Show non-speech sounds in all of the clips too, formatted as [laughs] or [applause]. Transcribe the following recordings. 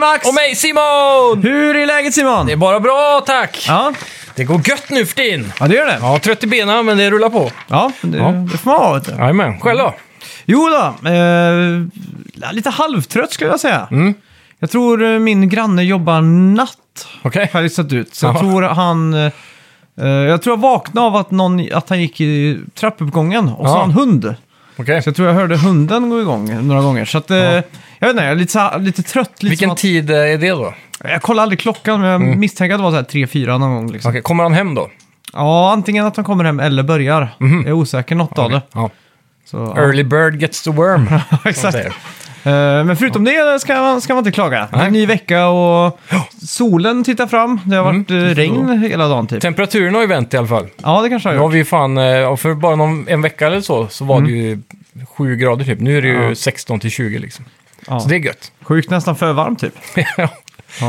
Max! Och mig Simon! Hur är läget Simon? Det är bara bra tack! Ja. Det går gött nu för tiden. ja, det gör det. Ja, trött i benen men det rullar på. Ja, det, Ja. det får man vara. vet du. Jajamän, Mm. själv då? Jo då, eh, lite halvtrött skulle jag säga. Mm. Jag tror eh, min granne jobbar natt, Okej. har jag listat ut. Så jag Ja. tror han... Eh, jag tror jag vaknade av att, någon, att han gick i trappuppgången och så Ja. har han hund. Okej. Så jag tror jag hörde hunden gå igång några gånger. Så att, eh, Ja. jag vet inte, jag är lite, så här- lite trött. Lite Vilken som att, tid eh, är det då? jag kollar aldrig klockan, men jag misstänker att det var så här 3-4 någon gång. Liksom. Mm. Okej, Kommer han hem då? Ja, antingen att de kommer hem eller börjar. Mhm. Jag är osäker, något av det. Ja. Så, ja. Early bird gets the [laughs] worm. Ja, [laughs] exakt. Eh, men förutom det ska man, ska man inte klaga. Det är en ny vecka och solen tittar fram. Det har Mm, varit eh, regn hela dagen typ. Temperaturen har ju vänt i alla fall. Ja, det kanske har Nu har gjort. vi ju fan, eh, för bara någon, en vecka eller så, så var det ju 7 grader typ. Nu är det ju 16 till 20 liksom. Ja. Så det är gött. [laughs] Sjukt nästan för varmt typ. Ja.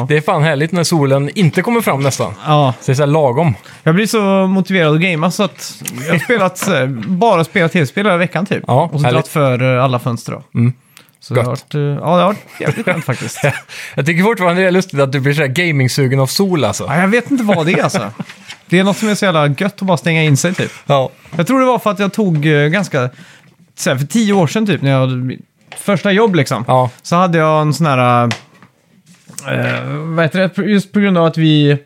Det är fan härligt när solen inte kommer fram nästan. Ja, Så det är så här lagom. jag blir så motiverad att gamea så att jag har spelat, eh, bara spelat tv-spel hela veckan typ. Ja, och så härligt. Mm. dragit för eh, alla fönster då. Så det har Gött. varit, eh, ja, det har varit jävligt skönt faktiskt. [laughs] Jag tycker fortfarande det är lustigt att du blir så här gaming-sugen av sol alltså. Ja, jag vet inte vad det är alltså. Det är något som är så jävla gött att bara stänga in sig typ. Ja. Jag tror det var för att jag tog eh, ganska, så här, för tio år sedan typ, när jag hade mitt första jobb liksom. Ja. Så hade jag en sån här, eh, vad heter det, just på grund av att vi,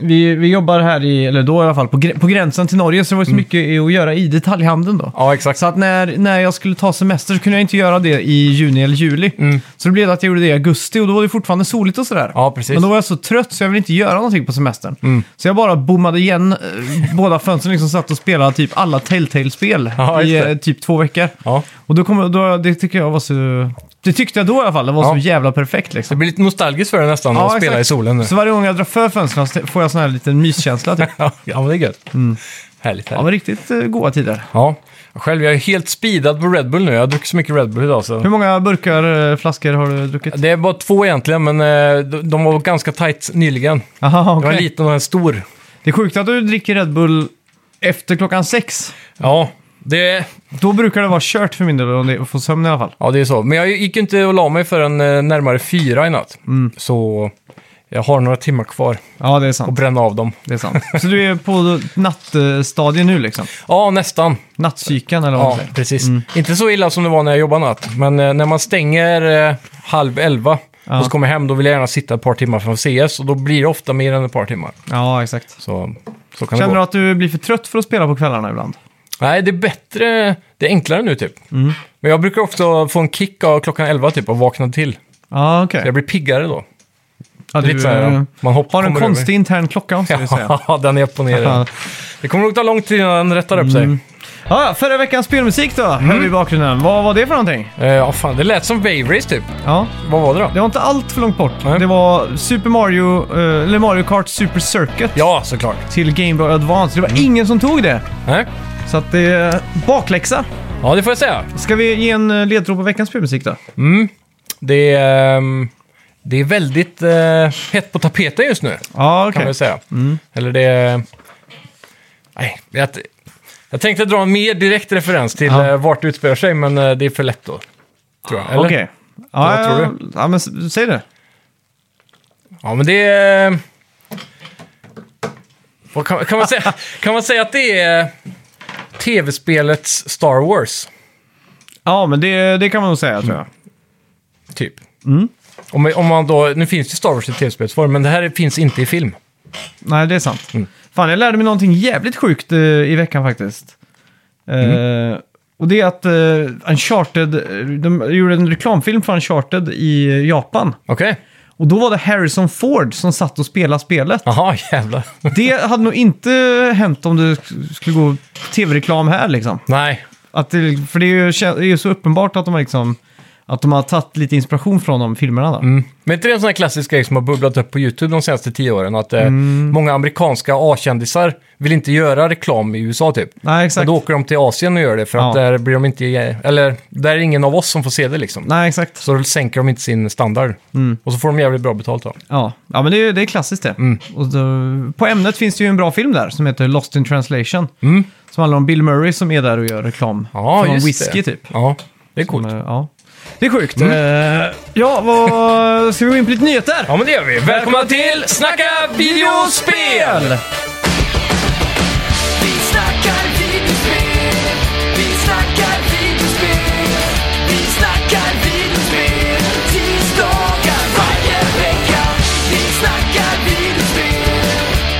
vi, vi jobbar här i, eller då i alla fall, på, grä- på gränsen till Norge. Så det var ju så mycket att göra i detaljhandeln då. Ja, exakt. Så att när, när jag skulle ta semester så kunde jag inte göra det i juni eller juli. Så det blev att jag gjorde det i augusti och då var det fortfarande soligt och sådär. Mm. Ja, precis. Mm. Men då var jag så trött så jag ville inte göra någonting på semestern. Så jag bara bommade igen eh, båda fönstren liksom satt och spelade typ alla Telltale-spel Ja, just i det. eh, typ två veckor. Ja. Och då kom, då, det tycker jag var så... Det tyckte jag då i alla fall, det var Ja. så jävla perfekt Det liksom. blir lite nostalgiskt för dig nästan att spela exakt. i solen nu. Så varje gång jag drar för fönstren så får jag sån här liten myskänsla typ. [laughs] Ja, men det är gött. Mm. Ja, Härligt, härligt. men riktigt eh, goa tider. Ja. Själv, jag är helt speedad på Red Bull nu. Jag har druckit så mycket Red Bull idag så... Hur många burkar, eh, flaskor har du druckit? Det är bara två egentligen, men eh, de- de var ganska tight nyligen. Aha, Det var okej. en liten och en stor. Det är sjukt att du dricker Red Bull efter klockan sex. Ja, det, Då brukar det vara kört för min del om det- att få sömn i alla fall. ja, det är så. Men jag gick ju inte och la mig förrän eh, närmare fyra i natt. Så jag har några timmar kvar Ja, det är att sant. bränna av dem. Det är sant. Så du är på nattstadiet nu liksom? Ja, nästan. Nattpsyken eller vad man Ja, säger? precis. Inte så illa som det var när jag jobbade natt, men eh, när man stänger eh, halv elva Ja. och så kommer jag hem, då vill jag gärna sitta ett par timmar framför CS och då blir det ofta mer än ett par timmar. Ja, exakt. Så, så kan Känner det du gå. att du blir för trött för att spela på kvällarna ibland? Nej, det är bättre, det är enklare nu typ. Mm. Men jag brukar ofta få en kick av klockan elva typ och vakna till. Ja, okej. Jag blir piggare då. Ja, Lite så här, eh, man hoppar har en konstig intern klocka måste vi säga. [laughs] Ja, den är upp och ner. Ja. Mm. den. Det kommer nog ta lång tid innan den rättar upp sig. Ja, ja, förra veckans spelmusik då, Mm. hör vi i bakgrunden. Vad var det för någonting? Eh, Ja, fan, det lät som Wave Race typ. Ja, Vad var det då? det var inte allt för långt bort. Nej. Det var Super Mario, eh, eller Mario Kart Super Circuit Ja, såklart. till Game Boy Advance. Det var Mm. ingen som tog det. Nej. Så att det är bakläxa. Ja, det får jag säga. Ska vi ge en eh, ledtråd på veckans spelmusik då? Det är, ehm, det är väldigt eh, hett på tapeten just nu, kan Ja, okej. man väl säga. Eller det är... Nej, jag, jag tänkte dra en mer direkt referens till Ja. eh, vart det utspelar sig, men eh, det är för lätt då. Tror jag. Eller? Okej. Ja, Vad tror ja, ja, men s- säg det. Ja, men det är... Vad kan, kan, man säga, kan man säga att det är tv-spelets Star Wars, Ja, men det, det kan man nog säga tror jag. Mm. typ? Om, man- om man då, nu finns ju Star Wars i tv-spelsform, men det här finns inte i film. Nej, det är sant. Mm. Fan, jag lärde mig någonting jävligt sjukt eh, i veckan faktiskt. Eh, Mm. och det är att eh, Uncharted, eh, de gjorde en reklamfilm för Uncharted i eh, Japan. Okej? Och då var det Harrison Ford som satt och spelade spelet. Jaha, jävlar. Det hade nog inte hänt om det sk- skulle gå tv-reklam här liksom. Nej, Att det, för det är, ju, kä- det är ju så uppenbart att de har liksom... Att de har tagit lite inspiration från de filmerna då. Mm. Men är inte det en sån här klassisk grej som har bubblat upp på YouTube de senaste tio åren? Att eh, Mm. många amerikanska A-kändisar vill inte göra reklam i USA typ. Nej, Men exakt. då åker de till Asien och gör det för att Ja. där blir de inte... Eller, där är ingen av oss som får se det liksom. Nej, Mm. exakt. Så då sänker de inte sin standard. Och så får de jävligt bra betalt då. Ja, ja men det är, det är klassiskt det. Mm. Och då, på ämnet finns det ju en bra film där som heter Lost in translation. Som handlar om Bill Murray som är där och gör reklam Mm. Ja, för någon just whisky det. typ. Ja, det är coolt. Mm. Men, ja. Det är sjukt. Eh, ja, vad... Ska vi gå in på lite nyheter? Ja, men det gör vi. Välkomna till Snacka videospel! Vi snackar videospel, vi snackar videospel, vi snackar videospel, tisdagar varje vecka. Vi snackar videospel,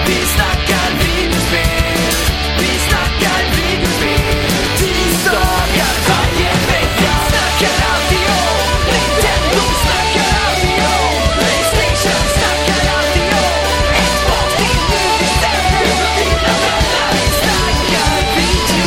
vi snackar videospel, vi snackar videospel, tisdagar varje vecka. Snackar alltid om Nintendo, snackar alltid om Playstation, snackar alltid om Xbox, det är nu vi ställer upp dina vänner. Vi snackar video.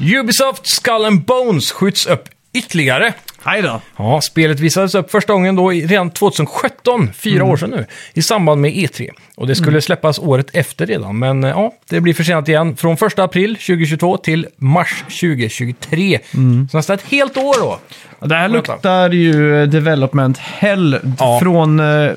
Ubisoft Skull and Bones skjuts upp ytterligare. Hej då. Ja, spelet visades upp första gången då i- redan 2017, fyra år sedan nu, i samband med E3. Och det skulle släppas året efter redan, men eh, ja, det blir försenat igen. Från 1 april 2022 till mars 2023. Så nästan ett helt år då. Det här luktar ju eh, development hell d- Ja. från... eh,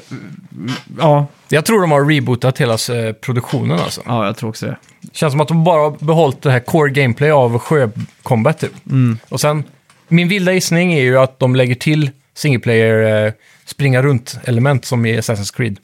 ja, Jag tror de har rebootat hela eh, produktionen alltså. ja, jag tror också det. Känns som att de bara har behållit det här core gameplay av sjökombat typ. Och sen, min vilda gissning är ju att de lägger till single player eh, springa runt-element som i Assassin's Creed.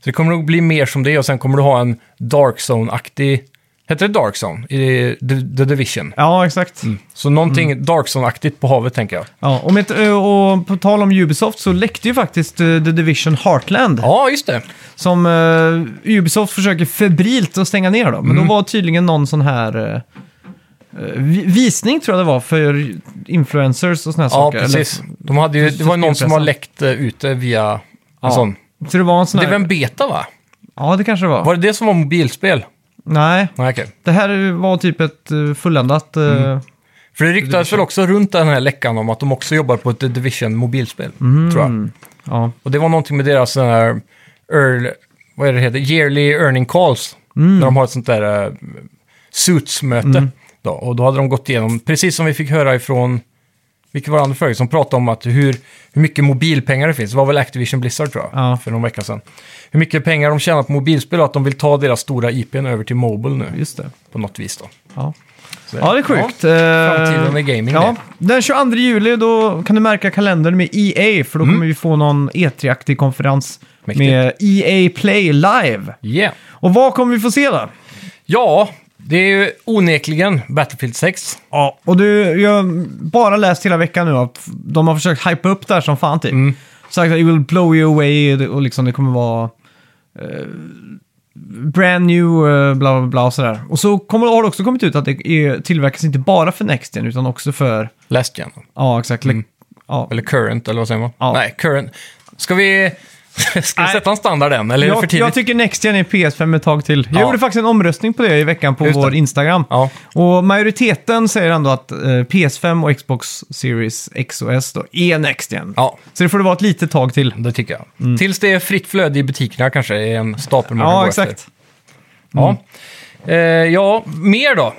Så det kommer nog bli mer som det och sen kommer du ha en Dark Zone-aktig... Heter det Dark Zone? I The, The Division. Ja, exakt. Så någonting Dark Zone-aktigt på havet tänker jag. Ja, och, med, eh, och på tal om Ubisoft så läckte ju faktiskt eh, The Division Heartland. Ja, just det. Som eh, Ubisoft försöker febrilt att stänga ner då. Men Mm. då var tydligen någon sån här eh, eh, vi- visning tror jag det var för influencers och såna här Ja, saker. precis. De hade ju, det var ju någon som har läckt eh, ute via en Ja. sån. Eller, så det var en sån Det här... var en beta va? Ja, det kanske det var. Var det det som var mobilspel? Nej, Nej, okej. det här var typ ett eh, fulländat... eh, Mm. För det ryktades väl också runt den här läckan om att de också jobbar på ett The Division mobilspel, Mhm. tror jag. Ja, Och det var någonting med deras sån här earl, vad är det heter, yearly earning calls. Mm. När de har ett sånt där eh, suits-möte. Då, och då hade de gått igenom, precis som vi fick höra ifrån, vilket var det Anders Ferguson, som pratade om att hur, hur mycket mobilpengar det finns. Det var väl Activision Blizzard tror jag, Ja. för någon vecka sedan. Hur mycket pengar de tjänar på mobilspel och att de vill ta deras stora IPn över till Mobile nu, just det. på något vis då. Ja. Så- Ja, det är sjukt. Ja. Eh, Framtiden är gaming, Ja. Den 22 juli då kan du märka kalendern med EA, för då kommer vi få någon E3-aktig konferens Mm. Mäktigt. med EA Play Live. Yeah. Och vad kommer vi få se då? Ja, det är ju onekligen Battlefield 6. Ja, och du, jag har bara läst hela veckan nu att de har försökt hypa upp det här som fan typ. Mm. Sagt att it will blow you away och liksom det kommer vara eh, brand new eh, bla bla bla och sådär. Och så kommer, har det också kommit ut att det är, tillverkas inte bara för Next Gen utan också för, Last gen. ja exakt, ja, Mm. Eller current, eller vad säger man? Ja. Nej, current. Ska vi, [laughs] ska vi Nej. sätta en standard än, eller är det för Jag, tidigt? jag tycker Next Gen är PS5 ett tag till. Jag Ja. gjorde faktiskt en omröstning på det i veckan på Just det. vår Instagram. Ja. Och majoriteten säger ändå att eh, PS5 och Xbox Series X och S då är Next Gen. Ja, Mm. Så det får det vara ett litet tag till. det tycker jag. Tills det är fritt flöde i butikerna kanske, är en stapel man kan Mm. Ja, gå exakt. Mm. efter. Ja. Eh, ja, mer då.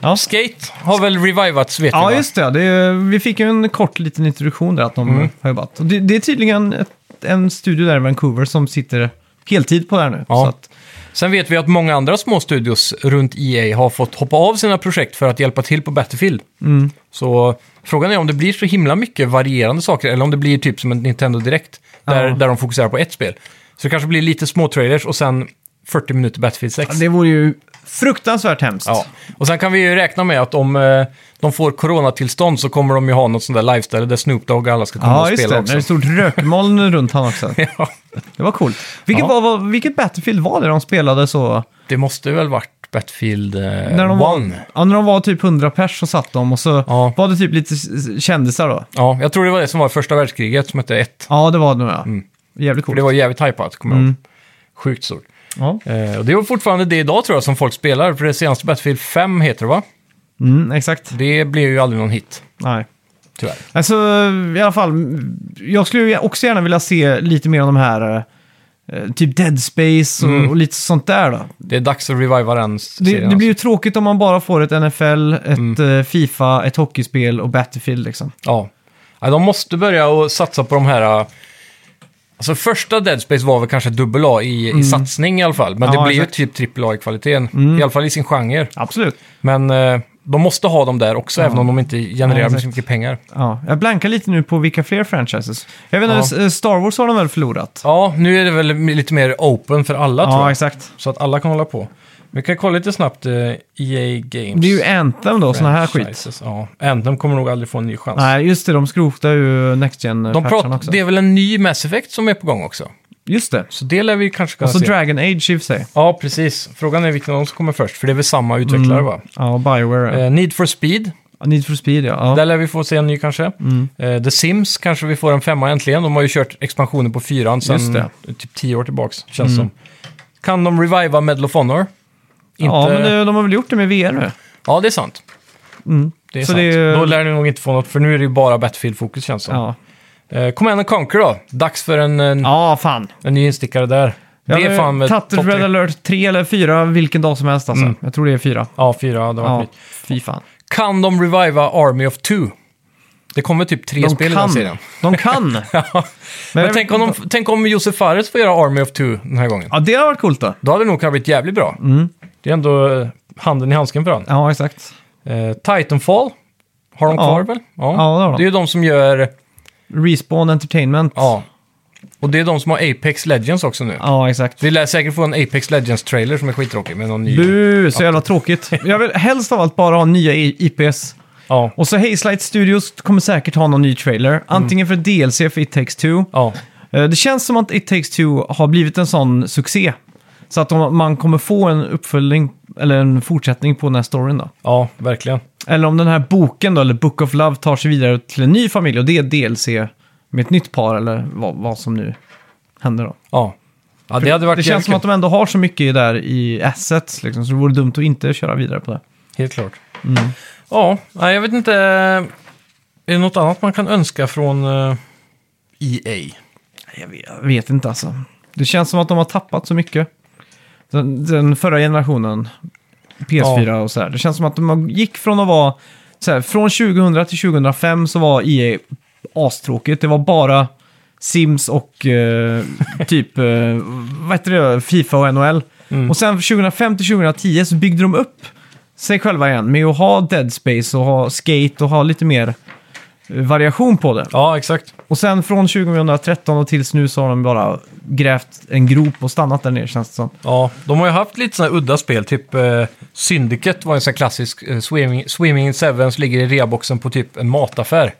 Ja. Skate har väl revivats, vet Ja, vi, va? just det. det är, vi fick ju en kort liten introduktion där att de Mm. har jobbat. Och det, det är tydligen ett, en studio där i Vancouver som sitter heltid på det här nu. Ja. Så att, Sen vet vi att många andra små studios runt EA har fått hoppa av sina projekt för att hjälpa till på Battlefield. Mm. Så frågan är om det blir så himla mycket varierande saker eller om det blir typ som en Nintendo Direkt där, Ja. där de fokuserar på ett spel. Så det kanske blir lite små trailers och sen 40 minuter Battlefield 6. det vore ju fruktansvärt hemskt. Ja. Och sen kan vi ju räkna med att om eh, de får coronatillstånd så kommer de ju ha något sånt där lifestyle där Snoop Dogg och alla ska komma Ja, och just spela det. Det är ett också. stort rökmoln runt han också. [laughs] Ja, Det var coolt. Vilket, var, Ja. var, vilket Battlefield var det de spelade så? det måste väl varit Battlefield eh, När de, var, One. ja, när de var typ 100 pers så satt de och så Ja. var det typ lite s- kändisar då. Ja, jag tror det var det som var första världskriget som hette 1. Ja, det var det nog ja. Jävligt Mm. För coolt. det var jävligt hypat, kommer Mm. jag ihåg. Sjukt stort. Ja. Eh, och det är väl fortfarande det idag tror jag som folk spelar, för det senaste Battlefield 5 heter det va? Mm, exakt. Det blev ju aldrig någon hit, Nej. tyvärr. Alltså i alla fall, mm, jag skulle ju också gärna vilja se lite mer av de här, eh, typ Dead Space och, Mm. och lite sånt där då. Det är dags att reviva den Det, serien. det blir ju tråkigt om man bara får ett NFL, ett Mm. eh, Fifa, ett hockeyspel och Battlefield liksom. alltså. ja. ja. De måste börja och satsa på de här eh, Alltså första Dead Space var väl kanske dubbel A i, i satsning i alla fall. Men Mm. Ja, det blev ju exakt. Mm. typ trippel A i kvaliteten. I alla fall i sin genre. Absolut. Men eh, de måste ha dem där också, även om de inte genererar exakt. så mycket pengar. Ja, jag blankar lite nu på vilka fler franchises. Jag vet inte, eh, Star Wars har de väl förlorat? Ja, nu är det väl lite mer open för alla tror Ja, jag. exakt. Så att alla kan hålla på. Vi kan kolla lite snabbt eh, EA Games. Det är ju Anthem då, sån här skit. franchises. Ja, Anthem kommer nog aldrig få en ny chans. Nej, just det, de skrotar ju Next gen de patchen pratar, också. det är väl en ny Mass Effect som är på gång också. Just det. Så det lär vi kanske kunna Och så se. Dragon Age i och för sig. Ja, precis. Frågan är vilken av dem som kommer först, för det är väl samma utvecklare Mm. va? Ja, och Bioware. Eh, Need for speed, Need for Speed, ja. där ja. lär vi få se en ny kanske. Mm. Eh, The Sims kanske vi får en femma äntligen. De har ju kört expansionen på fyran Just sedan det. Mm. typ tio år tillbaks, känns som. Kan de reviva Medal of Honor? Inte... Ja, men eh, de har väl gjort det med VR nu. Ja, det är sant. Det är Mm. Så sant. det är- Då lär du nog inte få något, för nu är det ju bara Battlefield-fokus känns som. Ja, Eh, Command and Conquer då. Dags för en, en, ja fan. en ny instickare där. Jag det är fan hade med tagit topp Red tre. Alert 3 eller 4 vilken dag som helst alltså. Mm. Jag tror det är 4. Ja, fyra. Det var Ja, skit. fy fan. Kan de reviva Army of Two? Det kommer typ tre spel i den serien. De kan. [laughs] Men, Men, jag vet tänk, om inte- de, tänk om Josef Fares får göra Army of Two den här gången. Ja, Mm. det har varit coolt då. Då hade det nog kunnat bli jävligt bra. Det är ändå eh, handen i handsken för honom. Ja, exakt. Eh, Titanfall har de Ja. kvar väl? Ja, det har de. Det är ju de som gör... Respawn Entertainment. Ja. Och det är de som har Apex Legends också nu. Ja, exakt. Vi lär säkert få en Apex Legends-trailer som är skittråkig med någon ny... Bu, så jävla tråkigt. Jag vill helst av allt bara ha nya I- IPs. Ja. Och så Hazelight Studios kommer säkert ha någon ny Mm. trailer. Antingen för DLC för It takes two. ja. Eh, Det känns som att It takes two har blivit en sån succé. Så att om man kommer få en uppföljning, eller en fortsättning på den här storyn då. Ja, verkligen. Eller om den här boken då, eller Book of Love, tar sig vidare till en ny familj och det är DLC med ett nytt par eller vad, vad som nu händer då. Ja. Ja, det hade varit Det känns jävligt som kul. att de ändå har så mycket där i assets liksom, så det vore dumt att inte köra vidare på det. Helt klart. Mm. Ja, nej, jag vet inte. Är det något annat man kan önska från eh, EA? Jag vet, jag vet inte alltså. Det känns som att de har tappat så mycket. Den, den förra generationen, PS4 och sådär. Det känns som att de har- gick från att vara... Så här, från 2000 till 2005 så var EA astråkigt. Det var bara Sims och eh, [laughs] typ eh, vad heter det, Fifa och NHL. Och sen 2005 till 2010 så byggde de upp sig själva igen med att ha Dead Space och ha Skate och ha lite mer eh, variation på det. Ja, exakt. Och sen från 2013 och tills nu så har de bara grävt en grop och stannat där nere känns det som. Ja, de har ju haft lite sådana udda spel, typ eh, Syndicate var en sån här klassisk. Eh, Swimming, Swimming in Sevens ligger i reaboxen på typ en mataffär.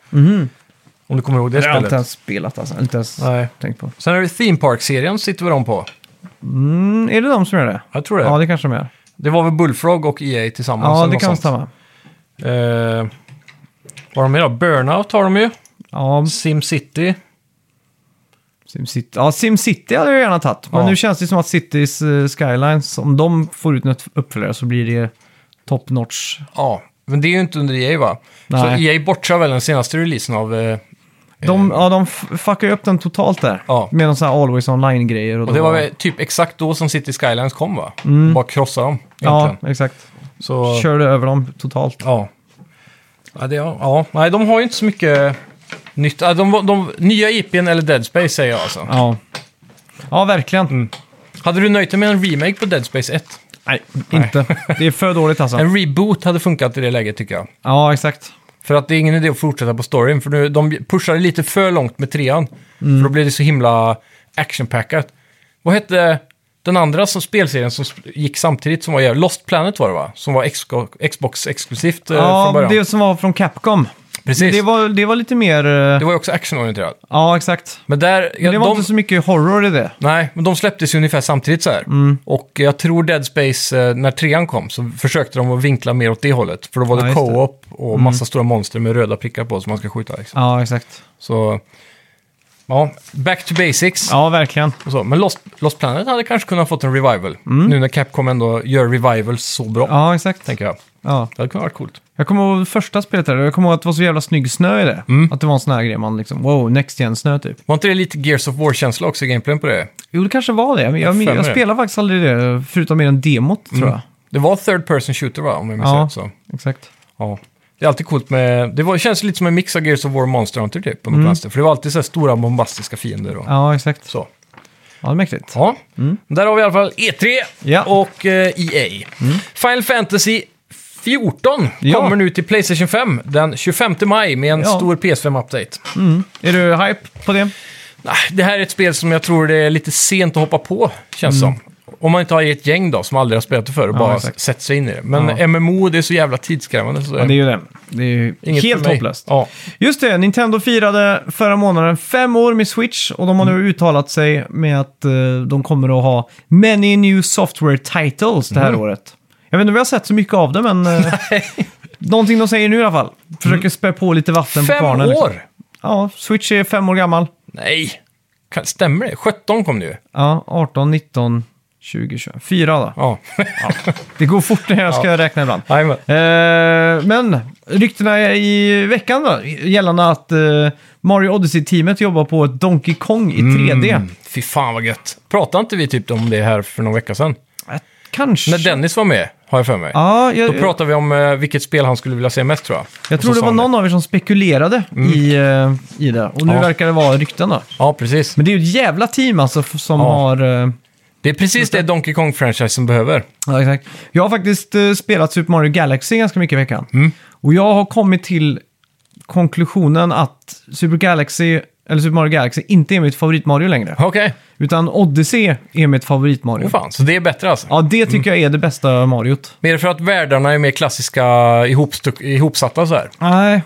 Om du kommer ihåg det Mhm. Jag har inte spelet. ens spelat alltså, inte ens Nej. tänkt på. Sen har vi Theme Park-serien, sitter vi de på. Mm, är det de som gör det? Jag tror det. Ja, det... det kanske de gör. var väl Bullfrog och EA tillsammans? Ja, eller det något kan sånt. stämma. Eh, vad har de mer då? Burnout har de ju. Ja, SimCity. SimCity ja, Sim City hade jag gärna tagit. Men Ja. nu känns det som att Cities eh, Skylines, om de får ut något uppföljare så blir det top notch. Ja, men det är ju inte under EA va? Så Nej. EA bortsar väl den senaste releasen av... Eh, De, ja, de f- fuckar ju upp den totalt där. Ja. Med någon sån här Always Online-grejer. Och, och då- det var väl typ exakt då som City Skylines kom va? Bara krossa dem Mm. Ja, egentligen. exakt. Så, Körde över dem totalt. ja. Ja, det, ja. ja. Nej, de har ju inte så mycket nytt. Ja, de, de, nya IPn eller Dead Space säger jag alltså. Ja, ja verkligen. Hade du nöjt dig med en remake på Dead Space 1? Nej, inte. Det är för dåligt alltså. En reboot hade funkat i det läget tycker jag. Ja, exakt. För att det är ingen idé att fortsätta på storyn, för nu, de pushade lite för långt med trean. Mm. För då blev det så himla actionpackat. Vad hette den andra som, spelserien som sp- gick samtidigt som var jävla- Lost Planet var det va? Som var Xco- Xbox-exklusivt eh, från Ja, början. det som var från Capcom. Precis. Det var, det var lite mer... eh, ju också actionorienterat. Ja, exakt. Men där... Ja, Men det var de, inte så mycket horror i det. Nej, men de släpptes ju ungefär samtidigt så här. Mm. Och jag tror Dead Space, eh, när trean kom, så försökte de att vinkla mer åt det hållet. För då var Ja, det just det. Mm. co-op och massa stora monster med röda prickar på som man ska skjuta. Liksom. Ja, exakt. Så, ja, back to basics. Ja, verkligen. Och så. Men Lost, Lost Planet hade kanske kunnat fått en revival. Nu när Capcom ändå gör revivals så bra, Mm. Ja, exakt. tänker jag. Ja. Det hade kunnat vara coolt. Jag kommer ihåg första spelet där. Jag kommer ihåg att det var så jävla snygg snö i det. Mm. Att det var en sån här grej man liksom, wow, next gen snö typ. Var inte det lite Gears of War-känsla också i gameplayen på det? Jo, det kanske var det. Men jag, Jag har för mig jag det. spelade faktiskt aldrig det, förutom i den demot tror jag. Det var third person shooter va, om jag minns Ja. rätt. Så. Exakt. Ja. Det är alltid coolt med... Det var, känns lite som en mix av Gears of War och Monster Hunter typ, på något vänster. För det var alltid så här stora bombastiska fiender och Mm. Ja, exakt. så. Ja, det är mäktigt. Ja, där har vi i alla fall E3 Ja. Mm. och eh, EA. Final Fantasy 14 Ja. kommer nu till Playstation 5 den 25 maj med en Ja. stor PS5-update. Är du hype på det? Det här är ett spel som jag tror det är lite sent att hoppa på, känns som. Om man inte har ett gäng då, som aldrig har spelat det förr, och Mm. Ja, bara exakt. sätter sig in i det. Men Ja. MMO, det är så jävla tidskrävande. Så Ja, det är ju det. Det är ju inget för helt mig. hopplöst. Ja. Just det, Nintendo firade förra månaden fem år med Switch och de har Mm. nu uttalat sig med att eh, de kommer att ha many new software titles det här Mm. året. Jag vet inte om vi har sett så mycket av det, men eh, [laughs] någonting de säger nu i alla fall. Försöker spä på lite vatten på Mm. Fem kvarnen. år? liksom. Ja, Switch är fem år gammal. Nej! Kan, stämmer det? 17 kom det ju. Ja, 18, 19, 20, 24 Fyra då. [laughs] Ja. Det går fort när jag ska räkna ibland. Jajamän. Eh, men ryktena i veckan då, gällande att eh, Mario Odyssey-teamet jobbar på ett Donkey Kong i Mm. 3D. Fy fan vad gött. Pratade inte vi typ om det här för någon vecka sedan? Eh, Kanske. När Dennis var med, har jag för mig. ja, jag, Då pratade vi om eh, vilket spel han skulle vilja se mest tror jag. jag Och tror så det sa var han någon av er som spekulerade i, eh, i det. Och nu Ja. verkar det vara rykten då. Ja, precis. Men det är ju ett jävla team alltså f- som Ja. har... eh, Det är precis det Donkey Kong-franchisen behöver. Ja, exakt. Jag har faktiskt eh, spelat Super Mario Galaxy ganska mycket i veckan. Mm. Och jag har kommit till konklusionen att Super, Galaxy, eller Super Mario Galaxy inte är mitt favorit-Mario längre. Okej, Utan Odyssey är mitt favorit-Mario. Åh fan. Så det är bättre alltså. ja, det tycker jag är det bästa Mariot. Mer för att världarna är mer klassiska ihopstuck- ihopsatta så här. Nej,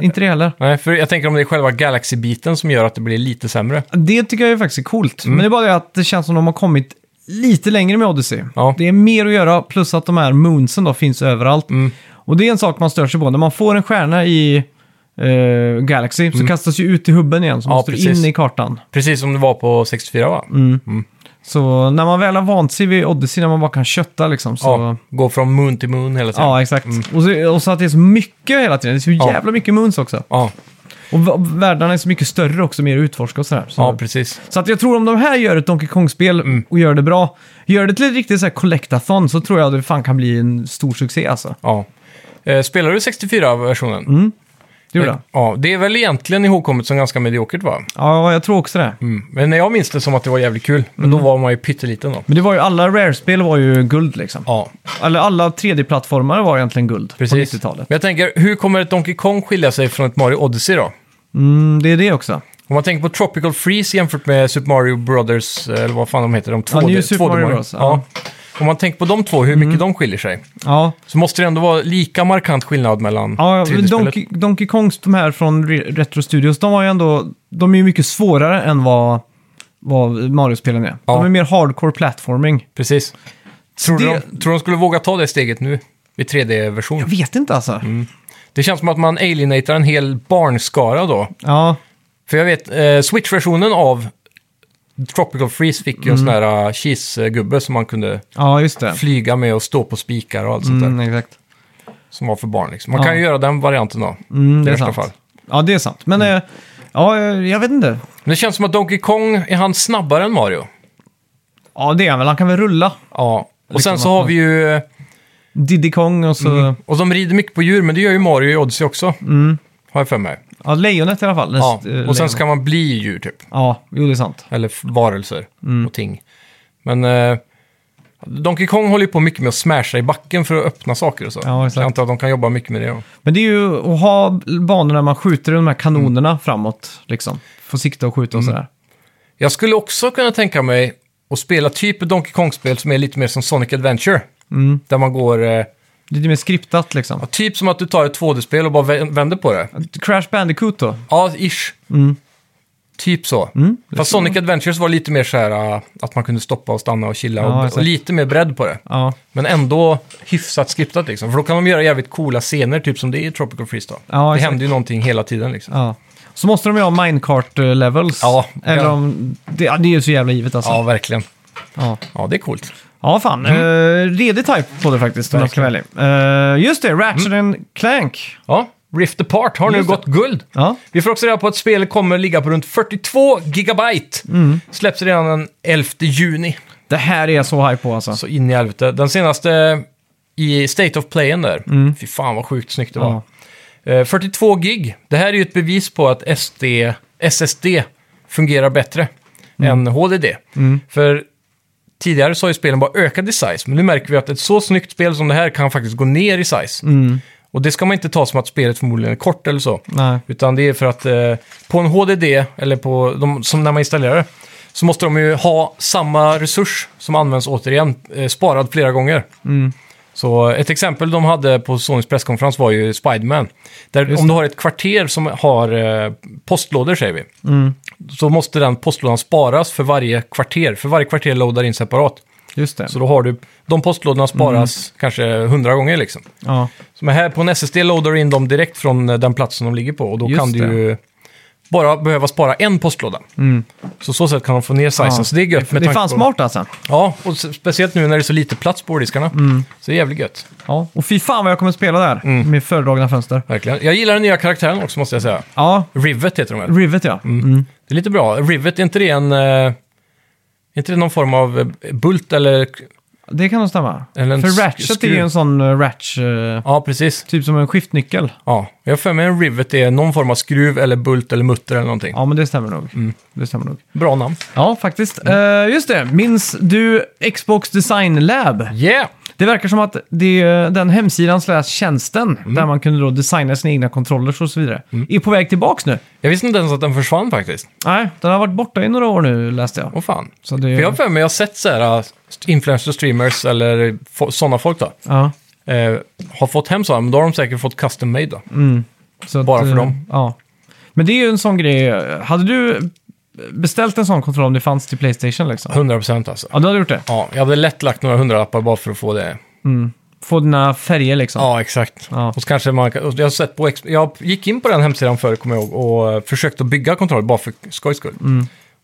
inte det heller. Nej, för jag tänker om det är själva Galaxy-biten som gör att det blir lite sämre. Det tycker jag ju faktiskt är coolt. Mm. Men det är bara det att det känns som de har kommit lite längre med Odyssey. Ja. Det är mer att göra, plus att de här moonsen då finns överallt. Mm. Och det är en sak man stör sig på. När man får en stjärna i eh, Galaxy så kastas ju ut i hubben igen, så Mm. Ja, måste du precis. in i kartan. Precis som det var på 64 va? Mm, Så när man väl har vant sig vid Odyssey, när man bara kan kötta liksom, så... Ja, gå från moon till moon hela tiden. Ja, exakt. Och, så, och så att det är så mycket hela tiden. Det är så Ja. jävla mycket moons också. ja, Och v- världarna är så mycket större också, mer att utforska och sådär. Så, ja precis. Mm. så att jag tror om de här gör ett Donkey Kong-spel och gör det bra, gör det till ett riktigt så här collectathon så tror jag det fan kan bli en stor succé alltså. Ja. Eh, Spelar du 64-versionen? Mm. Det gjorde jag. Ja, det är väl egentligen ihågkommet som ganska mediokert va? Ja, jag tror också det. Mm. Men jag minns det som att det var jävligt kul, men Mm. då var man ju pytteliten då. Men det var ju, alla Rare-spel var ju guld liksom. Ja, Eller alla 3D-plattformar var egentligen guld precis. på 90-talet. Men jag tänker, hur kommer ett Donkey Kong skilja sig från ett Mario Odyssey då? Mm, det är det också. Om man tänker på Tropical Freeze jämfört med Super Mario Brothers, eh, eller vad fan de heter, de två. Ja, New Super Mario Bros, ja. Mm. Ja. Om man tänker på de två, hur mycket de skiljer sig, Ja, så måste det ändå vara lika markant skillnad mellan ja 3D-spelet. Donkey, Donkey Kongs, de här från Re- Retro Studios, de var ju ändå, de är ju mycket svårare än vad, vad Mario-spelen är. Ja. De är mer hardcore platforming. Precis. Tror, Det- de, tror de skulle våga ta det steget nu, i 3D-version? Jag vet inte Mm. alltså. Det känns som att man alienatar en hel barnskara då. Ja, För jag vet, eh, Switch-versionen av Tropical Freeze fick ju en sån här eh, cheese-gubbe som man kunde Mm. ja just det. flyga med och stå på spikar och allt sånt Mm, där. exakt. Som var för barn liksom. Man Ja. kan ju göra den varianten då. Mm, det i är värsta sant. fall. Mm. Ja, det är sant. Men eh, ja, eh, jag vet inte. Men det känns som att Donkey Kong, är han snabbare än Mario? Ja, det är han väl. Han kan väl rulla. Ja. Och Liksom sen så att har man- vi ju... eh, Diddy Kong och så... Och de rider mycket på djur, men det gör ju Mario i Odyssey också. Har jag för mig. Ja, lejonet i alla fall. Den Ja. st- Mm. eh, Och sen lejonet. ska man bli djur typ. Ja, jo det är sant. Eller f- varelser Mm. och ting. Men eh, Donkey Kong håller ju på mycket med att smasha i backen för att öppna saker och så. Ja, exakt. jag antar att de kan jobba mycket med det. ja. Men det är ju att ha banor där man skjuter de här kanonerna Mm. framåt, liksom. Få sikta och skjuta och sådär. Jag skulle också kunna tänka mig att spela typ ett Donkey Kong-spel som är lite mer som Sonic Adventure. Mm. Där man går, eh, Lite mer skriptat liksom. ja, typ som att du tar ett 2D-spel och bara vä- vänder på det. Crash Bandicoot då? Ja, ish. Mm. Typ så. Fast Sonic Adventures var lite mer så här eh, att man kunde stoppa och stanna och chilla Ja, och, och exakt. lite mer bredd på det. Ja. Men ändå hyfsat skriptat liksom. För då kan de göra jävligt coola scener, typ som det är i Tropical Freeze då. Ja, det exakt. händer ju någonting hela tiden liksom. ja. Så måste de ju ha minecart-levels. Ja. Eller om... Det, ja, det är ju så jävla givet alltså. Ja, verkligen. Ja. Ja, det är coolt. Ja, fan. Mm. redig type på det faktiskt, om jag ska välja. Eh, just det, Ratchet Mm. and Clank. Ja, Rift Apart har nu Just det. gått guld. Ja. Vi får också reda på att spelet kommer ligga på runt 42 gigabyte. Mm. Släpps redan den 11 juni. Det här är jag så hype på alltså. Så in i helvete. Den senaste i State of Playen där. Fy fan vad sjukt snyggt det var. Mm. Ja. Eh, 42 gig. Det här är ju ett bevis på att SD, SSD fungerar bättre än HDD. För tidigare så har ju spelen bara ökat i size, men nu märker vi att ett så snyggt spel som det här kan faktiskt gå ner i size. Och det ska man inte ta som att spelet förmodligen är kort eller så. Nej. Utan det är för att eh, på en HDD, eller på de, som när man installerar det, så måste de ju ha samma resurs som används återigen, eh, sparad flera gånger. Så ett exempel de hade på Sonys presskonferens var ju Spiderman. Där om du har ett kvarter som har eh, postlådor, säger vi, så måste den postlådan sparas för varje kvarter. För varje kvarter lådar in separat. Just det. Så då har du, de postlådorna sparas kanske hundra gånger liksom. Ja. Så men här på en SSD loadar du in dem direkt från eh, den platsen de ligger på och då Just kan du det. Mm. ju bara behöva spara en postlåda. Så så sätt kan de få ner sizen. Ja. Så det är gött med Det är tanke fan på- smart alltså. Ja, och s- speciellt nu när det är så lite plats på hårddiskarna. Mm. Så det är jävligt gött. Ja. Och fy fan vad jag kommer spela där Mm. med fördragna fönster. Verkligen. Jag gillar den nya karaktären också måste jag säga. Ja, Rivet heter de väl? Rivet ja. Mm. Det är lite bra. Rivet, är inte det en... eh, Är inte det någon form av eh, bult eller... Det kan nog stämma. Eller en För sk- Ratchet är ju skruv. en sån uh, Ratch, eh, Ja, precis. typ som en skiftnyckel. Ja, jag har för mig en rivet är någon form av skruv eller bult eller mutter eller någonting. Ja, men det stämmer nog. Mm. Det stämmer nog. Bra namn. Ja, faktiskt. Eh, just det, minns du Xbox Design Lab? Yeah! Det verkar som att det, den hemsidan slash tjänsten Mm. där man kunde då designa sina egna controllers och så vidare är på väg tillbaks nu. Jag visste inte ens att den försvann faktiskt. Nej, den har varit borta i några år nu läste jag. Åh fan. Så det, För jag har för mig, jag har sett så här, äh, influencers, streamers eller fo- sådana folk då. ja, Eh, har fått hem sådana, men då har de säkert fått custom made då. Mm. så att, Bara för eh, dem. Ja. Men det är ju en sån grej. Hade du beställt en sån kontroll om det fanns till Playstation liksom? 100% alltså. Ja, du hade gjort det. Ja, jag hade lätt lagt några hundralappar bara för att få det. Få dina färger liksom. Ja, exakt. Ja. Och så kanske man kan- och jag, har sett på, ex- jag gick in på den hemsidan förr, kommer jag ihåg, och eh, försökte att bygga kontroll bara för skojs skull.